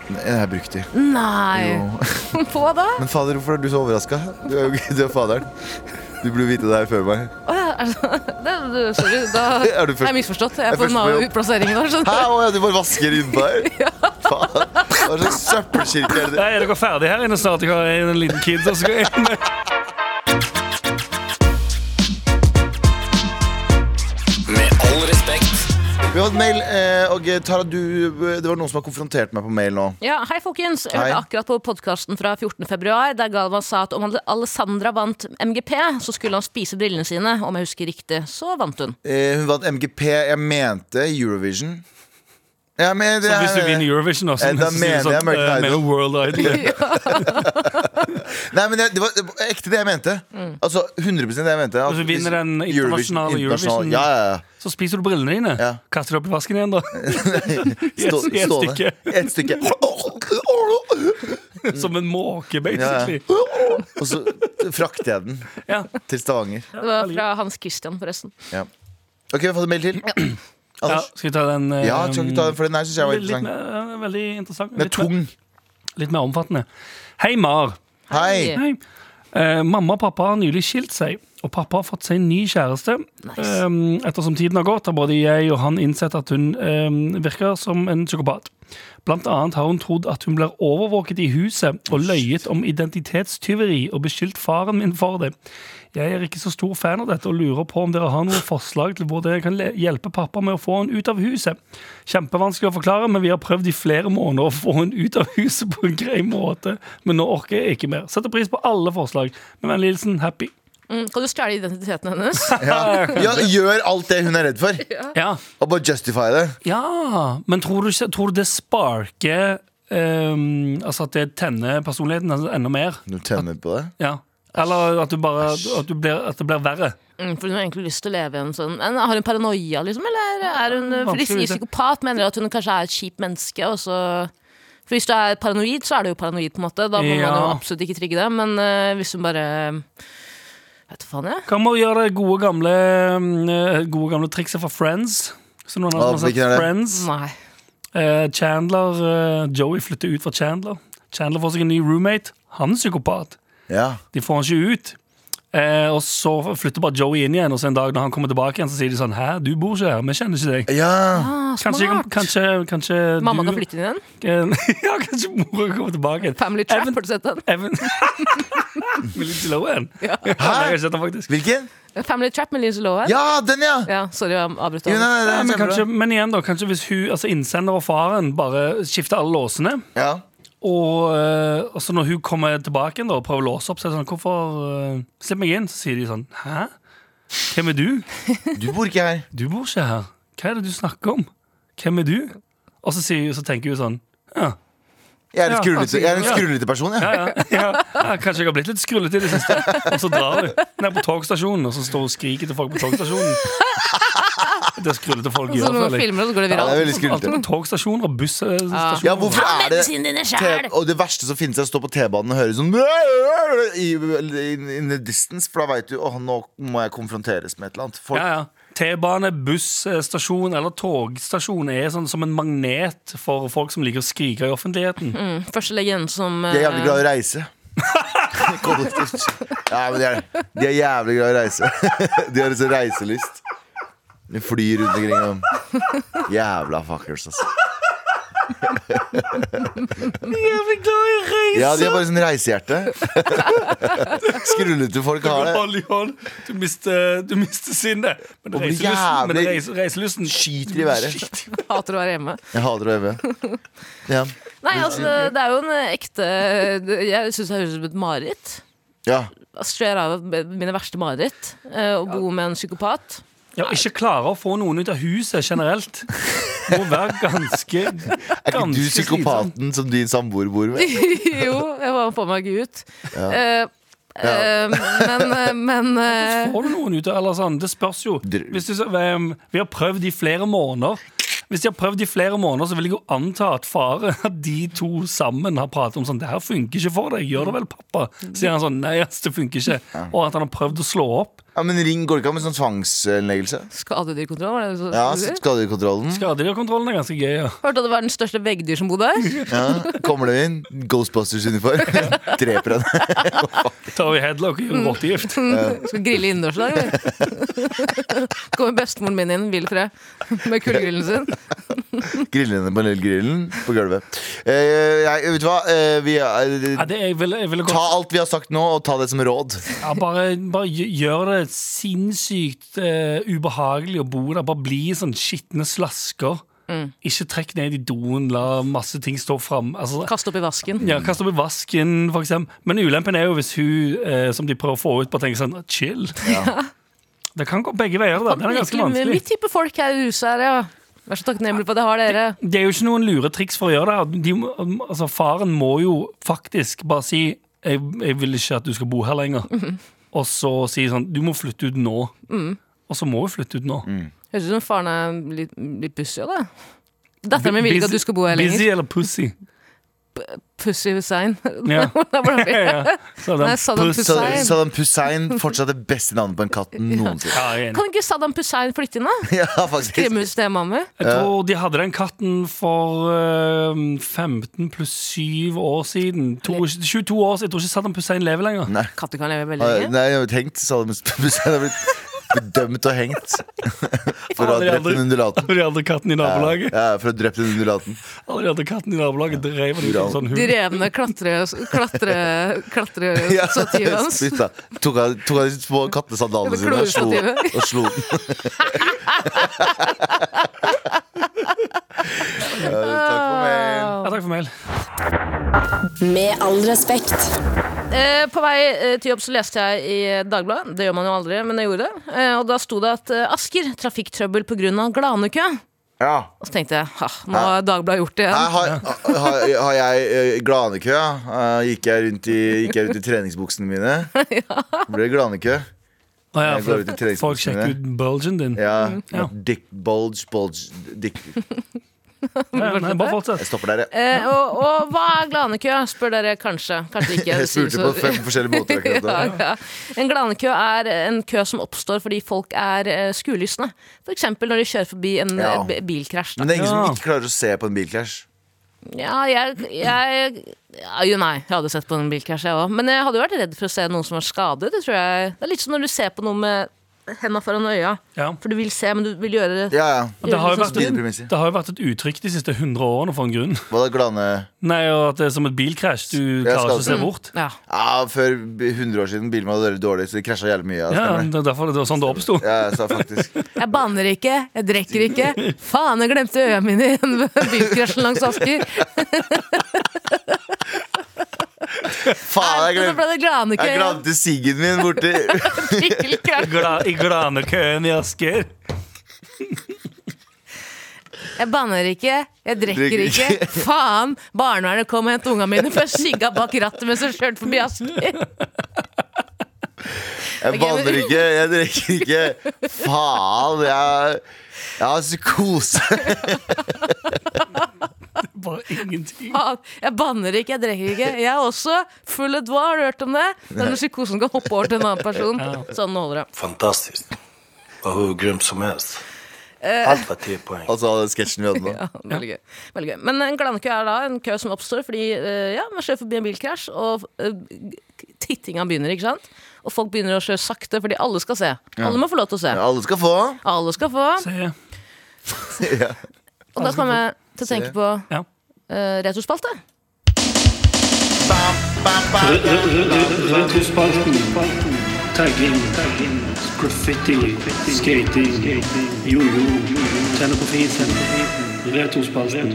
S1: Nei, Jeg har brukt de.
S3: Nei!
S1: Jo.
S3: På hva da?
S1: Men fader, hvorfor er du så overraska? Du er jo ikke- du er faderen. Du burde vite det her før meg.
S3: Å ja, altså, det, det- sorry, da
S1: Er du først-
S3: jeg er misforstått. Jeg
S1: er
S3: er på
S1: først på
S3: en annen
S1: jobb.
S3: plassering nå. skjønner
S1: Hæ, å ja, du bare vasker innpå her? Faen. Hva slags sånn søppelkirke er det?
S2: Nei, Er dere ferdige her inne snart? Jeg har en liten kid som skal inn.
S6: Med all respekt.
S1: Vi har fått mail, eh, og eh, Tara, du, det var noen som har konfrontert meg på mail nå.
S3: Ja, Hei, folkens. Jeg
S1: Hei.
S3: hørte akkurat på podkasten fra 14.2, der Galvan sa at om Ale- Alessandra vant MGP, så skulle han spise brillene sine. Om jeg husker riktig, så vant hun.
S1: Eh, hun vant MGP. Jeg mente Eurovision. Ja, men det
S2: Så hvis du
S1: er-
S2: vinner Eurovision, også,
S1: Eh, da
S2: så sier du
S1: mener jeg
S2: sånn,
S1: American
S2: eh,
S1: Idol.
S2: mener World Idol.
S1: Nei, men det, det, var, det var ekte det jeg mente. Altså 100 det jeg mente. at
S2: Altså, Mm. vinner
S1: hvis-
S2: den internasjonale Eurovision-
S1: Ja, ja, ja.
S2: Så spiser du brillene dine.
S1: Ja.
S2: Kaster du opp i vasken igjen, da.
S1: Stå,
S2: I et
S1: stående.
S2: stykke.
S1: Et stykke.
S2: Som en måke,
S1: Ja,
S2: basically.
S1: ja. Og så frakter jeg den
S2: Ja.
S1: til Stavanger.
S3: Det var fra Hans Christian, forresten.
S1: Ja. Ok, vi har fått en mail til.
S2: Ja,
S1: Anders?
S2: skal vi ta den? eh,
S1: Altså, Ja, skal vi ta den, for den her syns jeg var
S2: litt, litt,
S1: interessant.
S2: mer, eh, veldig interessant.
S1: Den er
S2: Litt mer,
S1: tung.
S2: litt mer omfattende. Hei, Mar.
S1: Hei.
S3: Hei.
S2: Hei. Eh, mamma og pappa har nylig skilt seg, og pappa har fått seg en ny kjæreste.
S3: Nice.
S2: Eh, ettersom tiden har gått, har både jeg og han innsett at hun eh, virker som en psykopat. Blant annet har hun trodd at hun blir overvåket i huset, og løyet om identitetstyveri og beskyldt faren min for det. Jeg er ikke så stor fan av dette og lurer på om dere har noen forslag til hvordan jeg kan le- hjelpe pappa med å få henne ut av huset. Kjempevanskelig å forklare, men vi har prøvd i flere måneder å få henne ut av huset på en grei måte. Men nå orker jeg ikke mer. Setter pris på alle forslag. Med vennlig hilsen Happy.
S3: Mm, kan du stjele identiteten hennes?
S1: Ja. Ja, gjør alt det hun er redd for,
S2: Ja,
S1: og bare justify det.
S2: ja. men tror du, ikke- tror du det sparker ehm, Altså at det tenner personligheten hennes enda mer?
S1: Du tenner på det?
S2: Ja. Eller at, du bare, at, du blir, at det blir verre.
S3: Mm, for hun har egentlig lyst til å leve i en sånn en, Har hun paranoia, liksom? Eller er hun eh, For de
S2: Vanskelig å
S3: sier
S2: vite.
S3: psykopat, mener at hun kanskje er et kjipt menneske, og så For hvis du er paranoid, så er du jo paranoid, på en måte. Da må man jo
S2: Ja.
S3: absolutt ikke trigge det. Men eh, hvis hun bare Vet du faen, jeg.
S2: Hva med å gjøre det gode gamle, eh, gode gamle trikset fra Friends? Så noen andre
S1: Ah, hvilken
S2: som har
S1: er
S2: sett
S1: det?
S2: Friends.
S3: Nei.
S2: Eh, Chandler, eh, Joey flytter ut fra Chandler. Chandler får seg en ny roommate. Han er psykopat.
S1: Ja.
S2: De får han ikke ut. Eh, og så flytter bare Joey inn igjen, og så en dag når han kommer tilbake igjen, så sier de sånn Hæ, du bor ikke her, vi kjenner ikke deg.
S1: ja.
S3: Ah,
S2: Kanskje,
S3: smart.
S2: kanskje, kanskje
S3: Mamma
S2: du
S3: kan flytte inn igjen?
S2: Ja, kanskje mora kommer tilbake igjen.
S3: Family Trap,
S2: Even-
S3: har du sett den?
S2: Even Vil ikke love en? Ja. Jeg har sett den faktisk.
S1: Hvilken?
S3: Family Trap med Lise Lohan?
S1: Ja, den, ja!
S3: Ja, sorry, jeg avbrøt
S1: Jo,
S3: deg.
S1: nei,
S2: Nei,
S1: den
S2: men,
S1: stemmer
S2: kanskje,
S1: det.
S2: men igjen, da. Kanskje hvis hun, altså innsender og faren bare skifter alle låsene,
S1: Ja.
S2: og eh, og så når hun kommer tilbake igjen da, og prøver å låse opp, så er det sånn Hvorfor eh, Slipp meg inn. Så sier de sånn Hæ? Hvem er du?
S1: Du bor ikke her.
S2: Du bor ikke her. Hva er det du snakker om? Hvem er du? Og så, sier, så tenker hun sånn ja,
S1: Jeg er en
S2: Ja,
S1: skrullete,
S2: altså,
S1: jeg er en
S2: ja.
S1: skrullete person, jeg.
S2: ja, ja, ja, kanskje jeg har blitt litt skrullete i det siste. Og så drar hun ned på togstasjonen og så står hun og skriker til folk på togstasjonen. Det er skrullete folk
S3: Så
S2: gjør,
S3: Altså, noen
S2: føler jeg.
S3: filmer, og så går det
S1: Ja, det er
S3: viralt.
S1: veldig
S2: Alltid
S1: skrullete.
S2: på togstasjoner og busstasjoner.
S1: Ja, hvorfor er det
S3: Medisin dine
S1: T-
S3: sjæl!
S1: og det verste som finnes, er å stå på T-banen og høre sånn i, in, in the distance, for da veit du åh, nå må jeg konfronteres med et eller annet. Folk,
S2: Ja, ja. T-bane, busstasjon eller togstasjon er sånn som en magnet for folk som liker å skrike i offentligheten.
S3: Første legenden som
S1: De er jævlig glad i
S3: eh,
S1: å reise. Kollektivt. Ja, men de er, de er jævlig glad i å reise. De har en sånn reiselyst. De flyr rundt omkring. Og... Jævla fuckers, altså.
S2: Jævlig glad i reise!
S1: Ja, de er bare sånn reisehjerte. Skrullete folk har det.
S2: Hold i hånd. Du mister, du mister sinnet. Men
S1: Og blir
S2: reiselysten, men
S1: jævlig-
S2: reise, reiselysten
S1: Skyter i været.
S3: eh, Hater å være hjemme.
S1: Jeg hater å øve. Ja.
S3: Nei,
S1: Mm.
S3: altså, det- det er jo en eh, ekte det- Jeg syns det høres ut som et mareritt. Altså,
S1: ja.
S3: Straight av mine verste mareritt. eh, Å bo med en psykopat.
S2: Ja, ikke klarer å få noen ut av huset generelt. Må være ganske
S1: Er ikke du
S2: ganske slitsom.
S1: psykopaten som din samboer bor med?
S3: jo, jeg bare får meg ikke ut. Eh, eh, men eh, men eh,
S2: Får du noen ut av eller sånn? Det spørs jo.
S1: Dr-
S2: Hvis du, så- hvem- vi har prøvd i flere måneder. Hvis de har prøvd i flere måneder, så vil jeg jo anta at fare at de to sammen har pratet om sånn Det her funker ikke for deg, gjør det vel, pappa? Sier han sånn Nei, ass, det funker ikke. Og at han har prøvd å slå opp.
S1: Ja, men ring går det ikke an med sånn tvangsinnleggelse?
S3: Skadedyrkontroll, var det det du
S1: Ja,
S3: sa?
S1: skadekontrollen.
S2: Skadedyrkontrollen er ganske gøy. Ja.
S3: Hørte at det var den største veggdyr som bodde her.
S1: Ja, kommer det inn? Ghostbusters-uniform. Dreper han.
S2: Tar vi headlock og gjør rottegift.
S3: Skal grille innendørs i dag, eller? Kommer bestemoren min inn, Wilfred, med kullgrillen sin.
S1: Griller henne på lillgrillen på gulvet. Eh, jeg, vet du hva? Eh, vi
S2: Ja,
S1: er,
S2: det, jeg ville, jeg ville gått
S1: ta alt vi har sagt nå, og ta det som råd.
S2: Ja, bare, bare gjø- gjør det sinnssykt eh, ubehagelig å bo der. Bare bli sånn skitne slasker. Ikke trekk ned i doen, la masse ting stå fram. Altså,
S3: Kaste opp i vasken.
S2: ja, Kast opp i vasken, for eksempel. Men ulempen er jo hvis hun eh, som de prøver å få ut, bare tenker sånn chill. Det kan gå begge veier. Da. Den er ganske
S3: Virkelig,
S2: vanskelig.
S3: Mitt type folk her i huset her, ja. Vær så takknemlig for at jeg har dere.
S2: Det er jo ikke noen lure triks for å gjøre det. her. De, må- altså, faren må jo faktisk bare si jeg, 'Jeg vil ikke at du skal bo her lenger',
S3: Mhm.
S2: og så si sånn 'Du må flytte ut nå'.
S3: Mm.
S2: Og så må hun flytte ut nå.
S3: Høres ut som faren er litt, litt pussig av det. Datteren min vil ikke at du skal bo her
S2: Busy
S3: lenger.
S2: eller pussy?
S3: Pussy Hussein.
S2: Ja.
S3: Hvordan blir det?
S2: ja. Så den
S3: Nei, Saddam
S2: puss-
S3: Hussein.
S1: Saddam Hussein fortsatt det beste navnet på en katt noensinne.
S2: Ja, jeg er enig.
S3: Kan ikke Saddam Hussein flytte inn, da?
S1: Ja, faktisk.
S3: Kremhus til mamma.
S2: Jeg tror de hadde den katten for eh, 15 pluss 7 år siden. To, 22 år siden. Jeg tror ikke Saddam Hussein lever lenger.
S1: Nei.
S3: Katter kan leve veldig
S1: Ah,
S3: lenge.
S1: Nei, jeg har blitt hengt. Saddam Hussein har blitt dømt og hengt for å ha
S2: Aldri,
S1: drept
S2: aldri.
S1: en undulaten.
S2: Aldri hadde katten i nabolaget.
S1: Ja, for å ha drept en undulaten.
S2: Aldri hadde katten i nabolaget drev den ut i en sånn
S3: De
S2: hund.
S3: revne klatre... klatre... klatre...
S1: Ja,
S3: stativet hans.
S1: spytta. Tok av tok av de små kattesandalene sine og slo,
S3: Klorstativet.
S1: og slo den. Ja, takk for meg.
S2: Ja, takk for mail.
S4: Med all respekt.
S3: Eh, på vei eh, til jobb så leste jeg i Dagbladet, det gjør man jo aldri, men jeg gjorde det. Eh, og da sto det at eh, Asker, trafikktrøbbel pga. glanekø.
S1: Ja.
S3: Og så tenkte jeg, ha, nå har Dagbladet gjort det
S1: Nei,
S3: igjen.
S1: Har, har, har jeg eh, glanekø? ja? Eh, Gikk jeg rundt i, gikk jeg rundt i treningsbuksene mine? Ble det glanekø?
S2: Å ja,
S1: Jeg går ut i
S2: for,
S1: treningsbuksene.
S2: folk sjekker ut bulgen din.
S1: Ja.
S2: Ja.
S1: Dick bulge, bulge dick.
S2: Ja, nei, bare fortsett.
S1: Jeg stopper der, jeg.
S3: Eh, og, og hva er glanekø, spør dere kanskje. Kanskje ikke.
S1: Jeg
S3: det sier
S1: spurte på
S3: så-
S1: fem forskjellige måter akkurat
S3: ja,
S1: da.
S3: ja. En glanekø er en kø som oppstår fordi folk er eh, skuelystne. F.eks. når de kjører forbi en
S1: Ja.
S3: eh, b- bilkrasj.
S1: Men
S3: Da.
S1: det er ingen
S2: Ja.
S1: som ikke klarer å se på en bilkrasj.
S3: Ja, jeg, jeg ja, Jo, nei, jeg hadde sett på en bilkrasj, jeg òg. Men jeg hadde jo vært redd for å se noen som var skadet. Det, tror jeg. det er litt som når du ser på noe med henda foran øya.
S2: Ja.
S3: For du vil se, men du vil gjøre det
S1: Ja, ja.
S2: Og Det har, jo vært
S1: Dine
S2: et,
S1: premisser.
S2: det har jo vært et uttrykk de siste 100 årene for en grunn.
S1: Hva da, glane...
S2: Nei, og at det er som et bilkrasj. Du klarer ikke å se
S1: skadet.
S2: bort.
S3: ja.
S1: Ja, for 100 år siden bilen var veldig dårlig, så det krasja jævlig mye. Ja,
S2: Ja,
S1: stemmer det.
S2: det er derfor det var sånn det oppsto.
S1: ja, jeg sa faktisk
S3: Jeg banner ikke, jeg drikker ikke. Faen, jeg glemte øya mine i en bilkrasjen langs Asker.
S1: Faen, jeg
S3: Så ble
S1: glemte,
S3: det glanekø.
S1: jeg glemte siggen min borti
S3: Bilkrasj.
S2: Gla, I glanekøen i Asker.
S3: Jeg banner ikke, jeg drikker
S1: Drikker ikke.
S3: ikke. Faen! Barnevernet kom og hentet unga mine, for jeg sigga bak rattet mens jeg kjørte forbi Asker.
S1: Jeg banner ikke, jeg drikker ikke. Faen, jeg, jeg har psykose.
S2: Bare ingenting.
S3: Faen, Jeg banner ikke, jeg drikker ikke. Jeg er også full of dwa, har du hørt om det? Denne psykosen kan hoppe over til en annen person. Sånn holder det.
S7: Fantastiskt. Var hur grym som helst. Allt var 10 poäng.
S1: Altså sketsjen vi hadde nå.
S3: Ja, veldig, gøy. veldig gøy. Men en glanekø er da en kø som oppstår fordi eh, ja, man kjører forbi en bilkrasj, og eh, tittinga begynner, ikke sant? Og folk begynner å kjøre sakte, fordi alle skal se. Alle må få lov til å se.
S1: Alle skal få.
S3: Alle skal få.
S2: Se.
S1: Ja.
S3: Og da kommer jeg til å tenke på
S2: Ja.
S3: eh, returspalte.
S8: Retrospalten. Tagging. Graffiti. Skating. Jojo. Tenne på fisen. Retrospalten.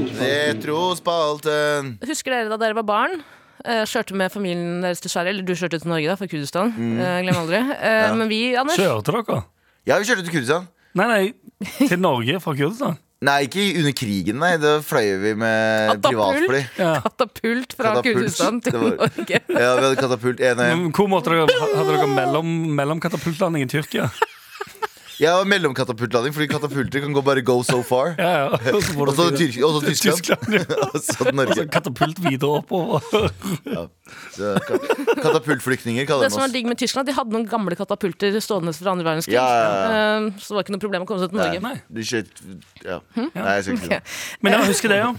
S1: Retrospalten.
S3: Husker dere da dere var barn? eh, kjørte med familien deres til Sverige, eller du kjørte til Norge da, fra Kurdistan. Eh, glem aldri. Eh, Men vi, Anders
S2: Kjørte dere?
S1: Ja, vi kjørte til Kurdistan.
S2: Nei, nei, til Norge fra Kurdistan.
S1: Nei, ikke under krigen, nei. Da fløy vi med
S3: Katapult.
S1: Eh, privatfly.
S2: Ja.
S3: Katapult fra
S1: Katapult.
S3: Kurdistan til
S1: Det var-
S3: Norge.
S1: Ja, vi hadde katapult. En,
S2: Men Hvor måtte dere, hadde dere mellom, mellom katapultlanding i Tyrkia?
S1: jeg var mellomkatapultlanding, fordi katapulter kan gå bare go so far.
S2: Ja, ja. Og så får
S1: Og så
S2: dere-
S1: Tyr- og så Tyskland.
S2: ja.
S1: Og så
S2: Og så
S1: Norge.
S2: katapult videre oppover.
S1: Ja. Så ka- Katapultflyktninger kaller
S3: Det
S1: de
S3: som var
S1: oss.
S3: digg med Tyskland, de hadde noen gamle katapulter stående fra andre verdenskrig.
S1: Ja, ja,
S3: Eh, Så det var ikke noe problem å komme seg til Norge. Hm?
S2: Nei.
S1: Du kjørt Ja. Nei, jeg skal ikke si det.
S2: Men jeg husker det, ja.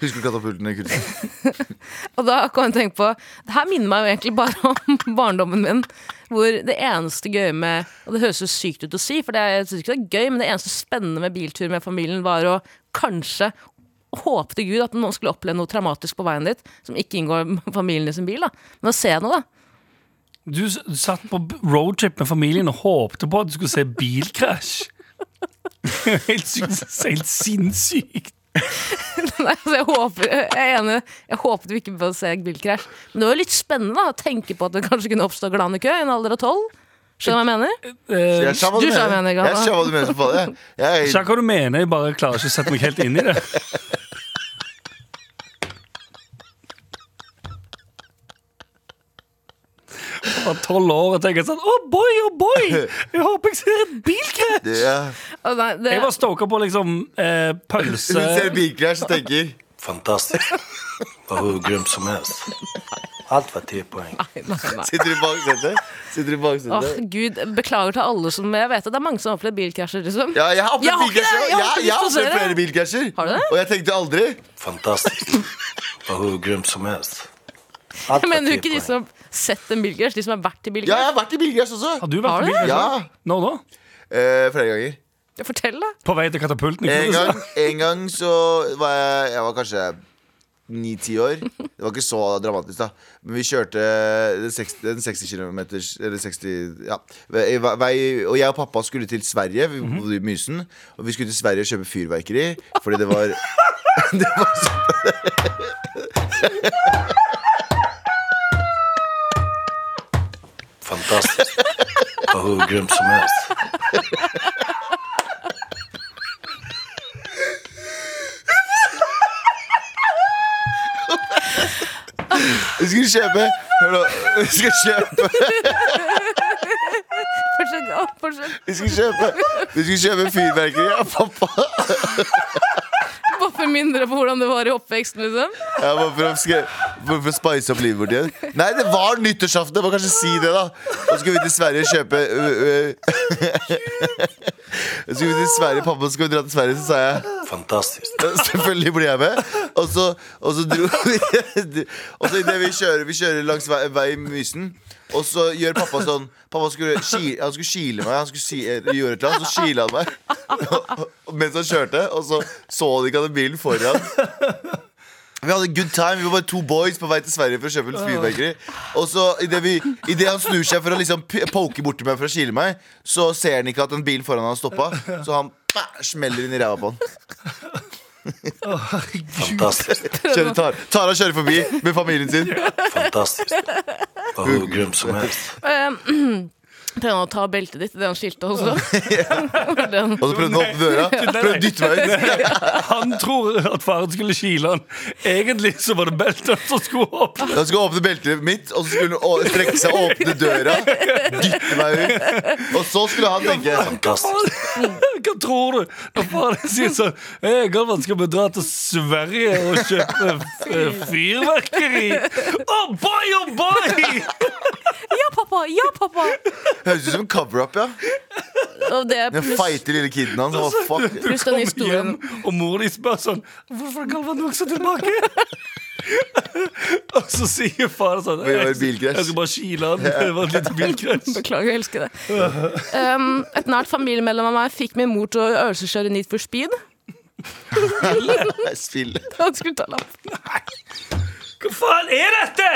S1: Husker du katapulten i
S2: Eh,
S1: Kurdistan?
S3: Og da kom jeg til å tenke på Det her minner meg jo egentlig bare om barndommen min. Hvor det eneste gøye med Og det høres jo sykt ut å si, for det er, jeg synes ikke det er gøy, men det eneste spennende med biltur med familien var å kanskje Håpte Gud at noen skulle oppleve noe traumatisk på veien dit, som ikke inngår med familien i sin bil. da Men å se noe, da.
S2: Du s- satt på b- roadtrip med familien og håpte på at du skulle se bilkrasj. Helt, sykt, helt sinnssykt.
S3: Nei, altså jeg, håper, jeg er enig, jeg håpet vi ikke på å se bilkrasj. Men det var jo litt spennende da, å tenke på at det kanskje kunne oppstå glanekø i en alder av tolv. Skjønner du hva jeg mener?
S2: Eh,
S1: Jeg sa hva
S3: Du
S1: du
S3: sa hva jeg
S1: mener.
S3: mener,
S1: Jeg
S3: Galvan.
S1: sa hva du mener som faen. Jeg,
S2: Ikke
S1: jeg,
S2: hva du mener, jeg bare klarer ikke å sette meg helt inn i det. Jeg var tolv år og tenkte sånn Oh boy, oh boy! Jeg håper jeg ser et bilkrasj!
S1: det, ja.
S3: Å, nei, det,
S2: Jeg var stoka på liksom eh,
S1: Hun
S2: pølse
S1: ser bilkrasj og tenker
S7: Fantastisk. Var hur grym som helst. Allt var 10 poäng.
S1: Sitter du bak setet? Sitter du bak
S3: Åh,
S1: setet?
S3: Gud, Beklager til alle som Jeg vet at det er mange som har opplevd bilkrasjer. Liksom.
S1: Ja, jeg har
S3: Jeg
S1: opplevd
S3: har ikke det,
S1: bilkrasjer.
S3: jeg har
S1: Ja,
S3: ikke lyst
S1: jeg har
S3: til å se
S1: opplevd flere
S3: det.
S1: bilkrasjer.
S3: Har du det?
S1: Og jeg tenkte aldri
S7: Fantastiskt. Var hur grym som helst. Allt
S3: Jeg
S7: var
S3: mener
S7: 10
S3: jo ikke de
S7: poäng.
S3: som har sett en bilkrasj, de som har vært i
S1: Ja, jeg
S3: bilkrasj.
S1: har vært i bilkrasj også.
S2: Har du vært
S3: Har
S2: i
S3: du?
S2: bilkrasj?
S1: Ja,
S2: Når da?
S1: eh, flere ganger.
S3: Fortell, da.
S2: På vei til katapulten?
S1: En
S2: Ikke?
S1: gang, en gang så var jeg Jeg var kanskje ni-ti år. Det var ikke så dramatisk, da. Men vi kjørte den 60, den 60 km Eller 60 Ja. Vei, vei, og jeg og pappa skulle til Sverige. Vi bodde i Mysen. Og vi skulle til Sverige og kjøpe fyrverkeri fordi det var Det var så
S7: Fantastiskt. Var hur grym som helst.
S1: Vi skulle kjøpe Hør nå. Vi skulle kjøpe
S3: Fortsett. å, fortsett.
S1: Vi skulle kjøpe, vi skulle kjøpe fyrverkeri av pappa.
S3: Bare for å minne dere på hvordan det var i oppveksten. Liksom.
S1: Ja, bare for, å, skre- bare for å spice opp livet vårt igjen. Nei, det var nyttårsaften. Jeg må kanskje si det, da. Så skulle vi til Sverige og kjøpe øh, ø, ø. Så skulle vi til Sverige, Pappa skulle dra til Sverige, så sa jeg
S7: Fantastiskt.
S1: Selvfølgelig blir jeg med. Og så, og så dro vi Og så idet vi kjører Vi kjører langs vei, vei i Mysen, og så gjør pappa sånn Pappa skulle, ki- han skulle kile meg, han skulle si, eh, gjøre et eller annet, så kile han meg. Og- og- Mens han kjørte, og så så han ikke at bilen foran. Vi hadde good time, vi var bare to boys på vei til Sverige for å kjøpe litt fyrverkeri. Og så idet vi- idet han snur seg for å liksom p- poke borti meg for å kile meg, så ser han ikke at en bil foran han har stoppa, så han bah, smeller inn i ræva på han.
S7: Fantastiskt.
S1: Kjører Tara. Tara kjører forbi med familien sin.
S7: Fantastiskt. Var hur grym som helst.
S3: Prøv å ta beltet ditt, det han skilte også. Den-
S1: Og så prøvde hun å åpne døra. Prøvde å dytte meg ut.
S2: Han tror at faren skulle kile han. Egentlig så var det beltet som skulle opp.
S1: Da skulle hun åpne beltet mitt, og så skulle hun å- strekke seg og åpne døra. Dytte meg ut. Og så skulle han tenke sånn,
S7: Fantastiskt.
S2: Hva tror du? Når faren sier sånn Hei, Galvan, skal vi dra til Sverige og kjøpe f- fyrverkeri? eh, Oh boy, oh boy!
S3: Ja, pappa! Ja, pappa!
S1: Høres ut som en cover-up, ja.
S3: Og det
S1: Den
S3: pluss,
S1: feite lille kiden hans. han var fuck.
S3: pluss den historien
S2: Hjem, og mor di spør sånn Hvorfor har Galvan vokst tilbake? Og så sier far sånn
S1: Vi var i
S2: Jeg
S1: bilkrasj.
S2: skal bare kile han. Det var et lite bilkrasj.
S3: Beklager, jeg elsker det. Um, et nært familiemedlem av meg fikk min mor til å øvelseskjøre Need for speed.
S1: Spill.
S3: Han skulle ta lapp.
S2: Hva faen er dette?!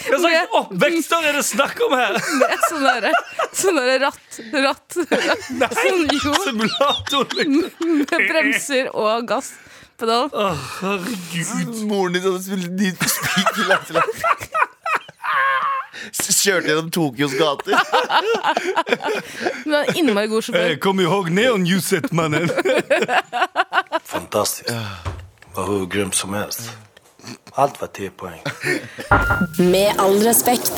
S2: Hva slags oppvekster er det snakk om her?
S3: Det er sånn derre sånn der ratt, ratt, ratt. Sånn, jo,
S2: Simulator! liksom.
S3: med bremser og gasspedal.
S2: Å, herregud.
S1: Moren din altså, hadde spilt Need for Speed i Leiteland. Kjørte gjennom Tokyos gater.
S3: Hun er en innmari god sjåfør.
S2: Eh, Kom ihåg neonljuset, mannen.
S7: Fantastiskt. Var hur grym som helst. Allt var 10 poäng.
S4: Med all respekt.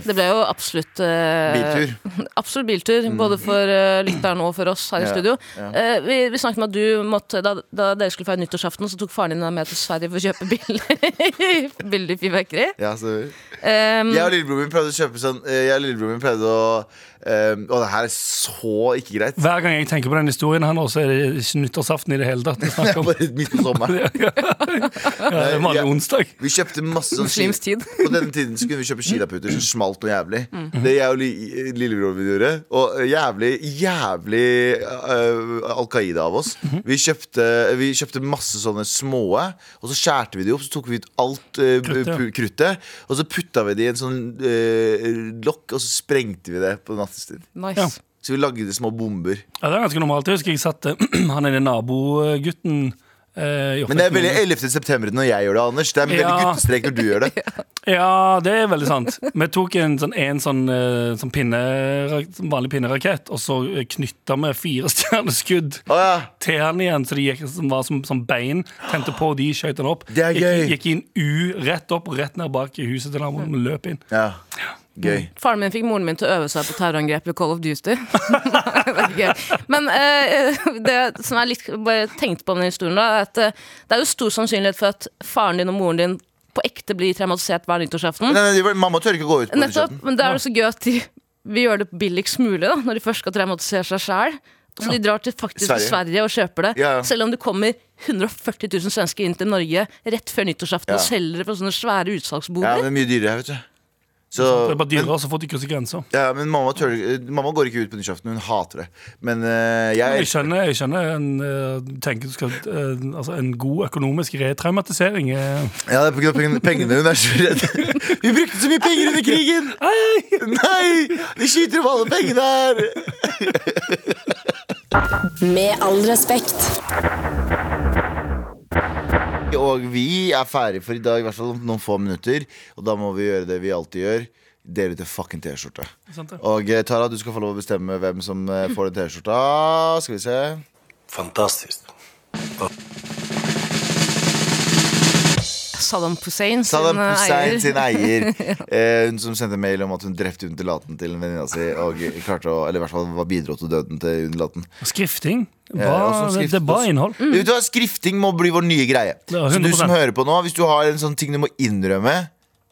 S3: Det ble jo absolutt eh,
S1: Biltur.
S3: Absolutt biltur, både for eh, lytteren og for oss
S1: Mm.
S3: her i
S1: Ja,
S3: studio. Eh, vi, vi snakket om at du måtte Da, da dere skulle feire nyttårsaften, så tok faren din deg med til Sverige for å kjøpe biler. Billig fyrverkeri.
S1: Ja, så
S3: Um,
S1: Jeg og lillebroren min prøvde å kjøpe sånn eh, Jeg og lillebroren min prøvde å um, Og det her er så ikke greit.
S2: Hver gang jeg tenker på den historien her nå, så er det ikke nyttårsaften i det hele tatt. Det er snakk om
S1: Bare midt på sommeren.
S2: ja, en vanlig
S1: Ja.
S2: onsdag.
S1: Vi kjøpte masse sånn
S3: Muslims
S1: ski-
S3: tid.
S1: På denne tiden så kunne vi kjøpe kilaputer som smalt noe jævlig.
S2: Mm.
S1: Det jeg og li lillebroren min gjorde, og eh, jævlig, jævlig eh, Al Qaida av oss
S2: Mhm.
S1: vi, kjøpte, vi kjøpte masse sånne små, og så skjærte vi de opp. Så tok vi ut alt eh,
S2: Kruttet, ja.
S1: pu- kruttet, og så putta vi det i en sånn eh, lokk, og så sprengte vi det på nattestid.
S3: nice.
S2: Ja.
S1: Så vi lagde små bomber.
S2: Ja, det er ganske normalt. Jeg husker jeg satt eh, han ene nabogutten eh, i
S1: Men det er
S2: oppveksten
S1: veldig
S2: min.
S1: 11. september når jeg gjør det, Anders. Det er veldig
S2: Ja.
S1: guttestrek når du gjør det.
S2: Ja, det er veldig sant. Vi tok en sånn, en sånn, eh, sånn pinne, sånn vanlig pinnerakett, og så knytta vi fire stjerneskudd
S1: Å ja.
S2: til han igjen, så det gikk, som var som, som bein. Tente på de, skjøt han opp.
S1: Det er gøy.
S2: Gikk, gikk i en U rett opp, rett ned bak i huset til naboen, og løp inn.
S1: ja. Gøy.
S3: Faren min fikk moren min til å øve seg på terrorangrep ved Call of Duty. Det er ikke gøy. Men eh, det som jeg litt bare tenkte på om den historien, da, er at eh, det er jo stor sannsynlighet for at faren din og moren din på ekte blir traumatisert hver nyttårsaften.
S1: Nei, nei, de var- mamma tør ikke gå ut på
S3: Nettopp,
S1: audition.
S3: men da er det så gøy at de vil gjøre det billigst mulig da, når de først skal traumatisere seg sjæl. Så de drar til faktisk
S1: Sverige.
S3: til Sverige og kjøper det.
S1: Ja, ja.
S3: Selv om det kommer 140 000 svensker inn til Norge rett før nyttårsaften
S1: Ja.
S3: og selger det på sånne svære utsalgsboder.
S1: Ja, det er mye dyrere, vet du. Så,
S2: Det er bare dyrere, så får de krysse grenser.
S1: ja, men mamma, tør, eh, mamma går ikke ut på nyttårsaften. Hun hater det. Men eh,
S2: Jeg
S1: jeg
S2: skjønner, jeg skjønner en, eh, tenker du skal, eh, altså en god økonomisk retraumatisering. eh.
S1: Ja, det er på grunn av pengene- pengene. Hun er så redd. Vi brukte så mye penger under krigen! Nei! De skyter opp alle pengene her!
S4: Med all respekt.
S1: Og vi er ferdig for i dag, i hvert fall om noen få minutter. Og da må vi gjøre det vi alltid gjør. Dele ut en fucking T-skjorte.
S2: Sant det?
S1: Og eh, Tara, du skal få lov å bestemme hvem som eh, får den T-skjorta. Skal vi se.
S7: Fantastiskt.
S3: Saddam Hussein sin
S1: Saddam
S3: eh,
S1: Hussein
S3: eier.
S1: sin eier. Eh, hun som sendte mail om at hun drepte underlaten til en venninne si. Og klarte å, eller i hvert fall var bidro til døden til underlaten.
S2: Skrifting. Bra,
S1: Ja, og som
S2: det,
S1: skrift- altså-
S2: det er bra innhold.
S1: Vet du hva, Skrifting må bli vår nye greie.
S2: Ja,
S1: Så du
S2: 100%.
S1: som hører på nå, hvis du har en sånn ting du må innrømme,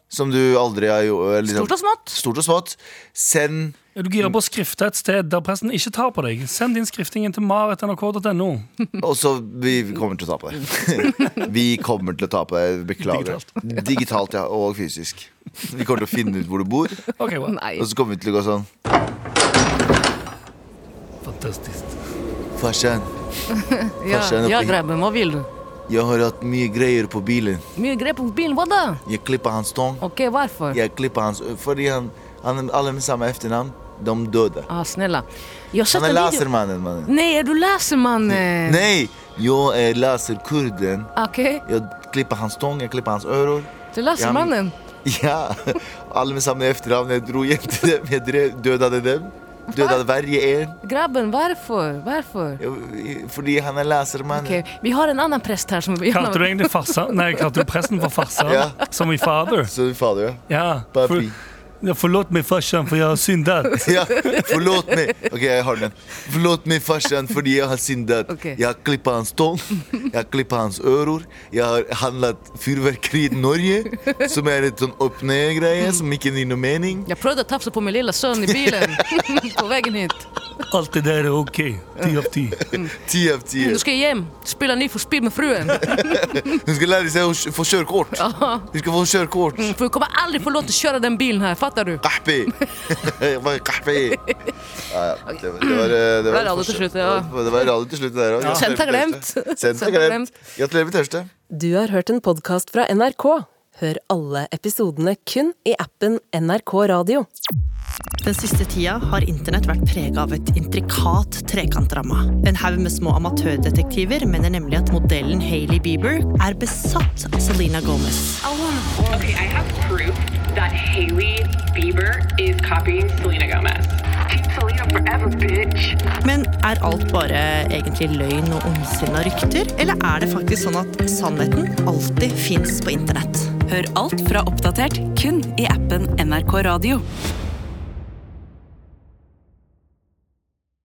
S1: som du aldri har gjort eller liksom-
S3: Stort og smått.
S1: Stort og smått. Send
S2: Er du gira på å skrifte et sted der pressen ikke tar på deg? Send din skrifting inn til marit.nrk.no.
S1: Og så vi kommer til å ta på det. Vi kommer til å ta på det. Beklager. Digitalt, ja. Og fysisk. Vi kommer til å finne ut hvor du bor, og
S2: Ok, bra.
S3: Nei.
S1: så kommer vi til å gå sånn.
S2: Fantastisk.
S1: Farsan,
S3: Ja,
S1: Kanskje en
S3: ja
S1: oppi-
S3: grabben, hva vil du?
S1: jeg har hatt mye greier på bilen.
S3: Mye grep på bilen, hva da?
S1: Jeg klippa hans tong.
S3: Ok, hvorfor?
S1: Jeg klippa hans Fordi han, han Alle med samme etternavn, de døde.
S3: Ah, snälla. Jag har sett
S1: Han
S3: en
S1: er
S3: video. Mm.
S1: lasermannen, mannen.
S3: Nej, är du lasermannen?
S1: Nei! Jeg er laserkurden.
S3: Okej,
S1: Jeg klipper hans tong, jeg klipper hans ører.
S3: du är lasermannen.
S1: Ja, alle med samme etternavn. Jeg dro hjem til dem. Jeg drev, dødade dem. Dødade hver en.
S3: Grabben, varför? Varför?
S1: Jeg- Fordi han er lesermann.
S3: Okej, vi har en annan präst här som vi
S2: Kalte du egentlig farsa? Nei, kalte du presten for farsa?
S1: Ja.
S2: Som i fader?
S1: Så fader, ja.
S2: Ja. For,
S1: Papi.
S2: ja forlåt meg, farsan, for jeg har syndet.
S1: ja. Forlåt meg. Ok, jeg har den. Forlåt meg, farsan, fordi jeg har syndet.
S3: Ok.
S1: Jeg har klippa hans tånd. Jeg har klippa hans ører. Jeg har handlet fyrverkeri i Norge, som er et sånn
S3: Mm.
S1: opp-ned-greie som ikke gir noe mening.
S3: Jag prövade att tafsa på min lilla son i bilen på vägen hit.
S2: Alt det der er OK. Ti av ti.
S1: Ti av ti.
S3: Nå skal jeg hjem. Spille ny for spill med fruen.
S1: Hun skal lære seg å kj- få kjørekort. Hun skal få kjørekort.
S3: For hun kommer aldri få lov til å kjøre den bilen her, fatter du?
S1: Kahpi. Bare kahpi. Ja, ja. Det var- det var, eh,
S3: Det
S1: det var
S3: var radio til slutt, ja.
S1: Det var- det var radio til slutt, det der òg.
S3: Sendt er glemt.
S1: Sendt er glemt. Gratulerer med tørste.
S4: Du har hørt en podkast fra NRK. Hør alle episodene kun i appen NRK Radio.
S9: Den siste tida har internett vært prega av et intrikat trekantramme. En haug med små amatørdetektiver mener nemlig at modellen Hailey Bieber er besatt av Selena Gomez.
S10: Okay, I have proof that Haley Bieber is copying Selena Gomez. Team Selena forever, bitch.
S9: Men er alt bare egentlig løgn og ondsinna rykter? Eller er det faktisk sånn at sannheten alltid fins på internett?
S11: Hør alt fra oppdatert kun i appen NRK Radio.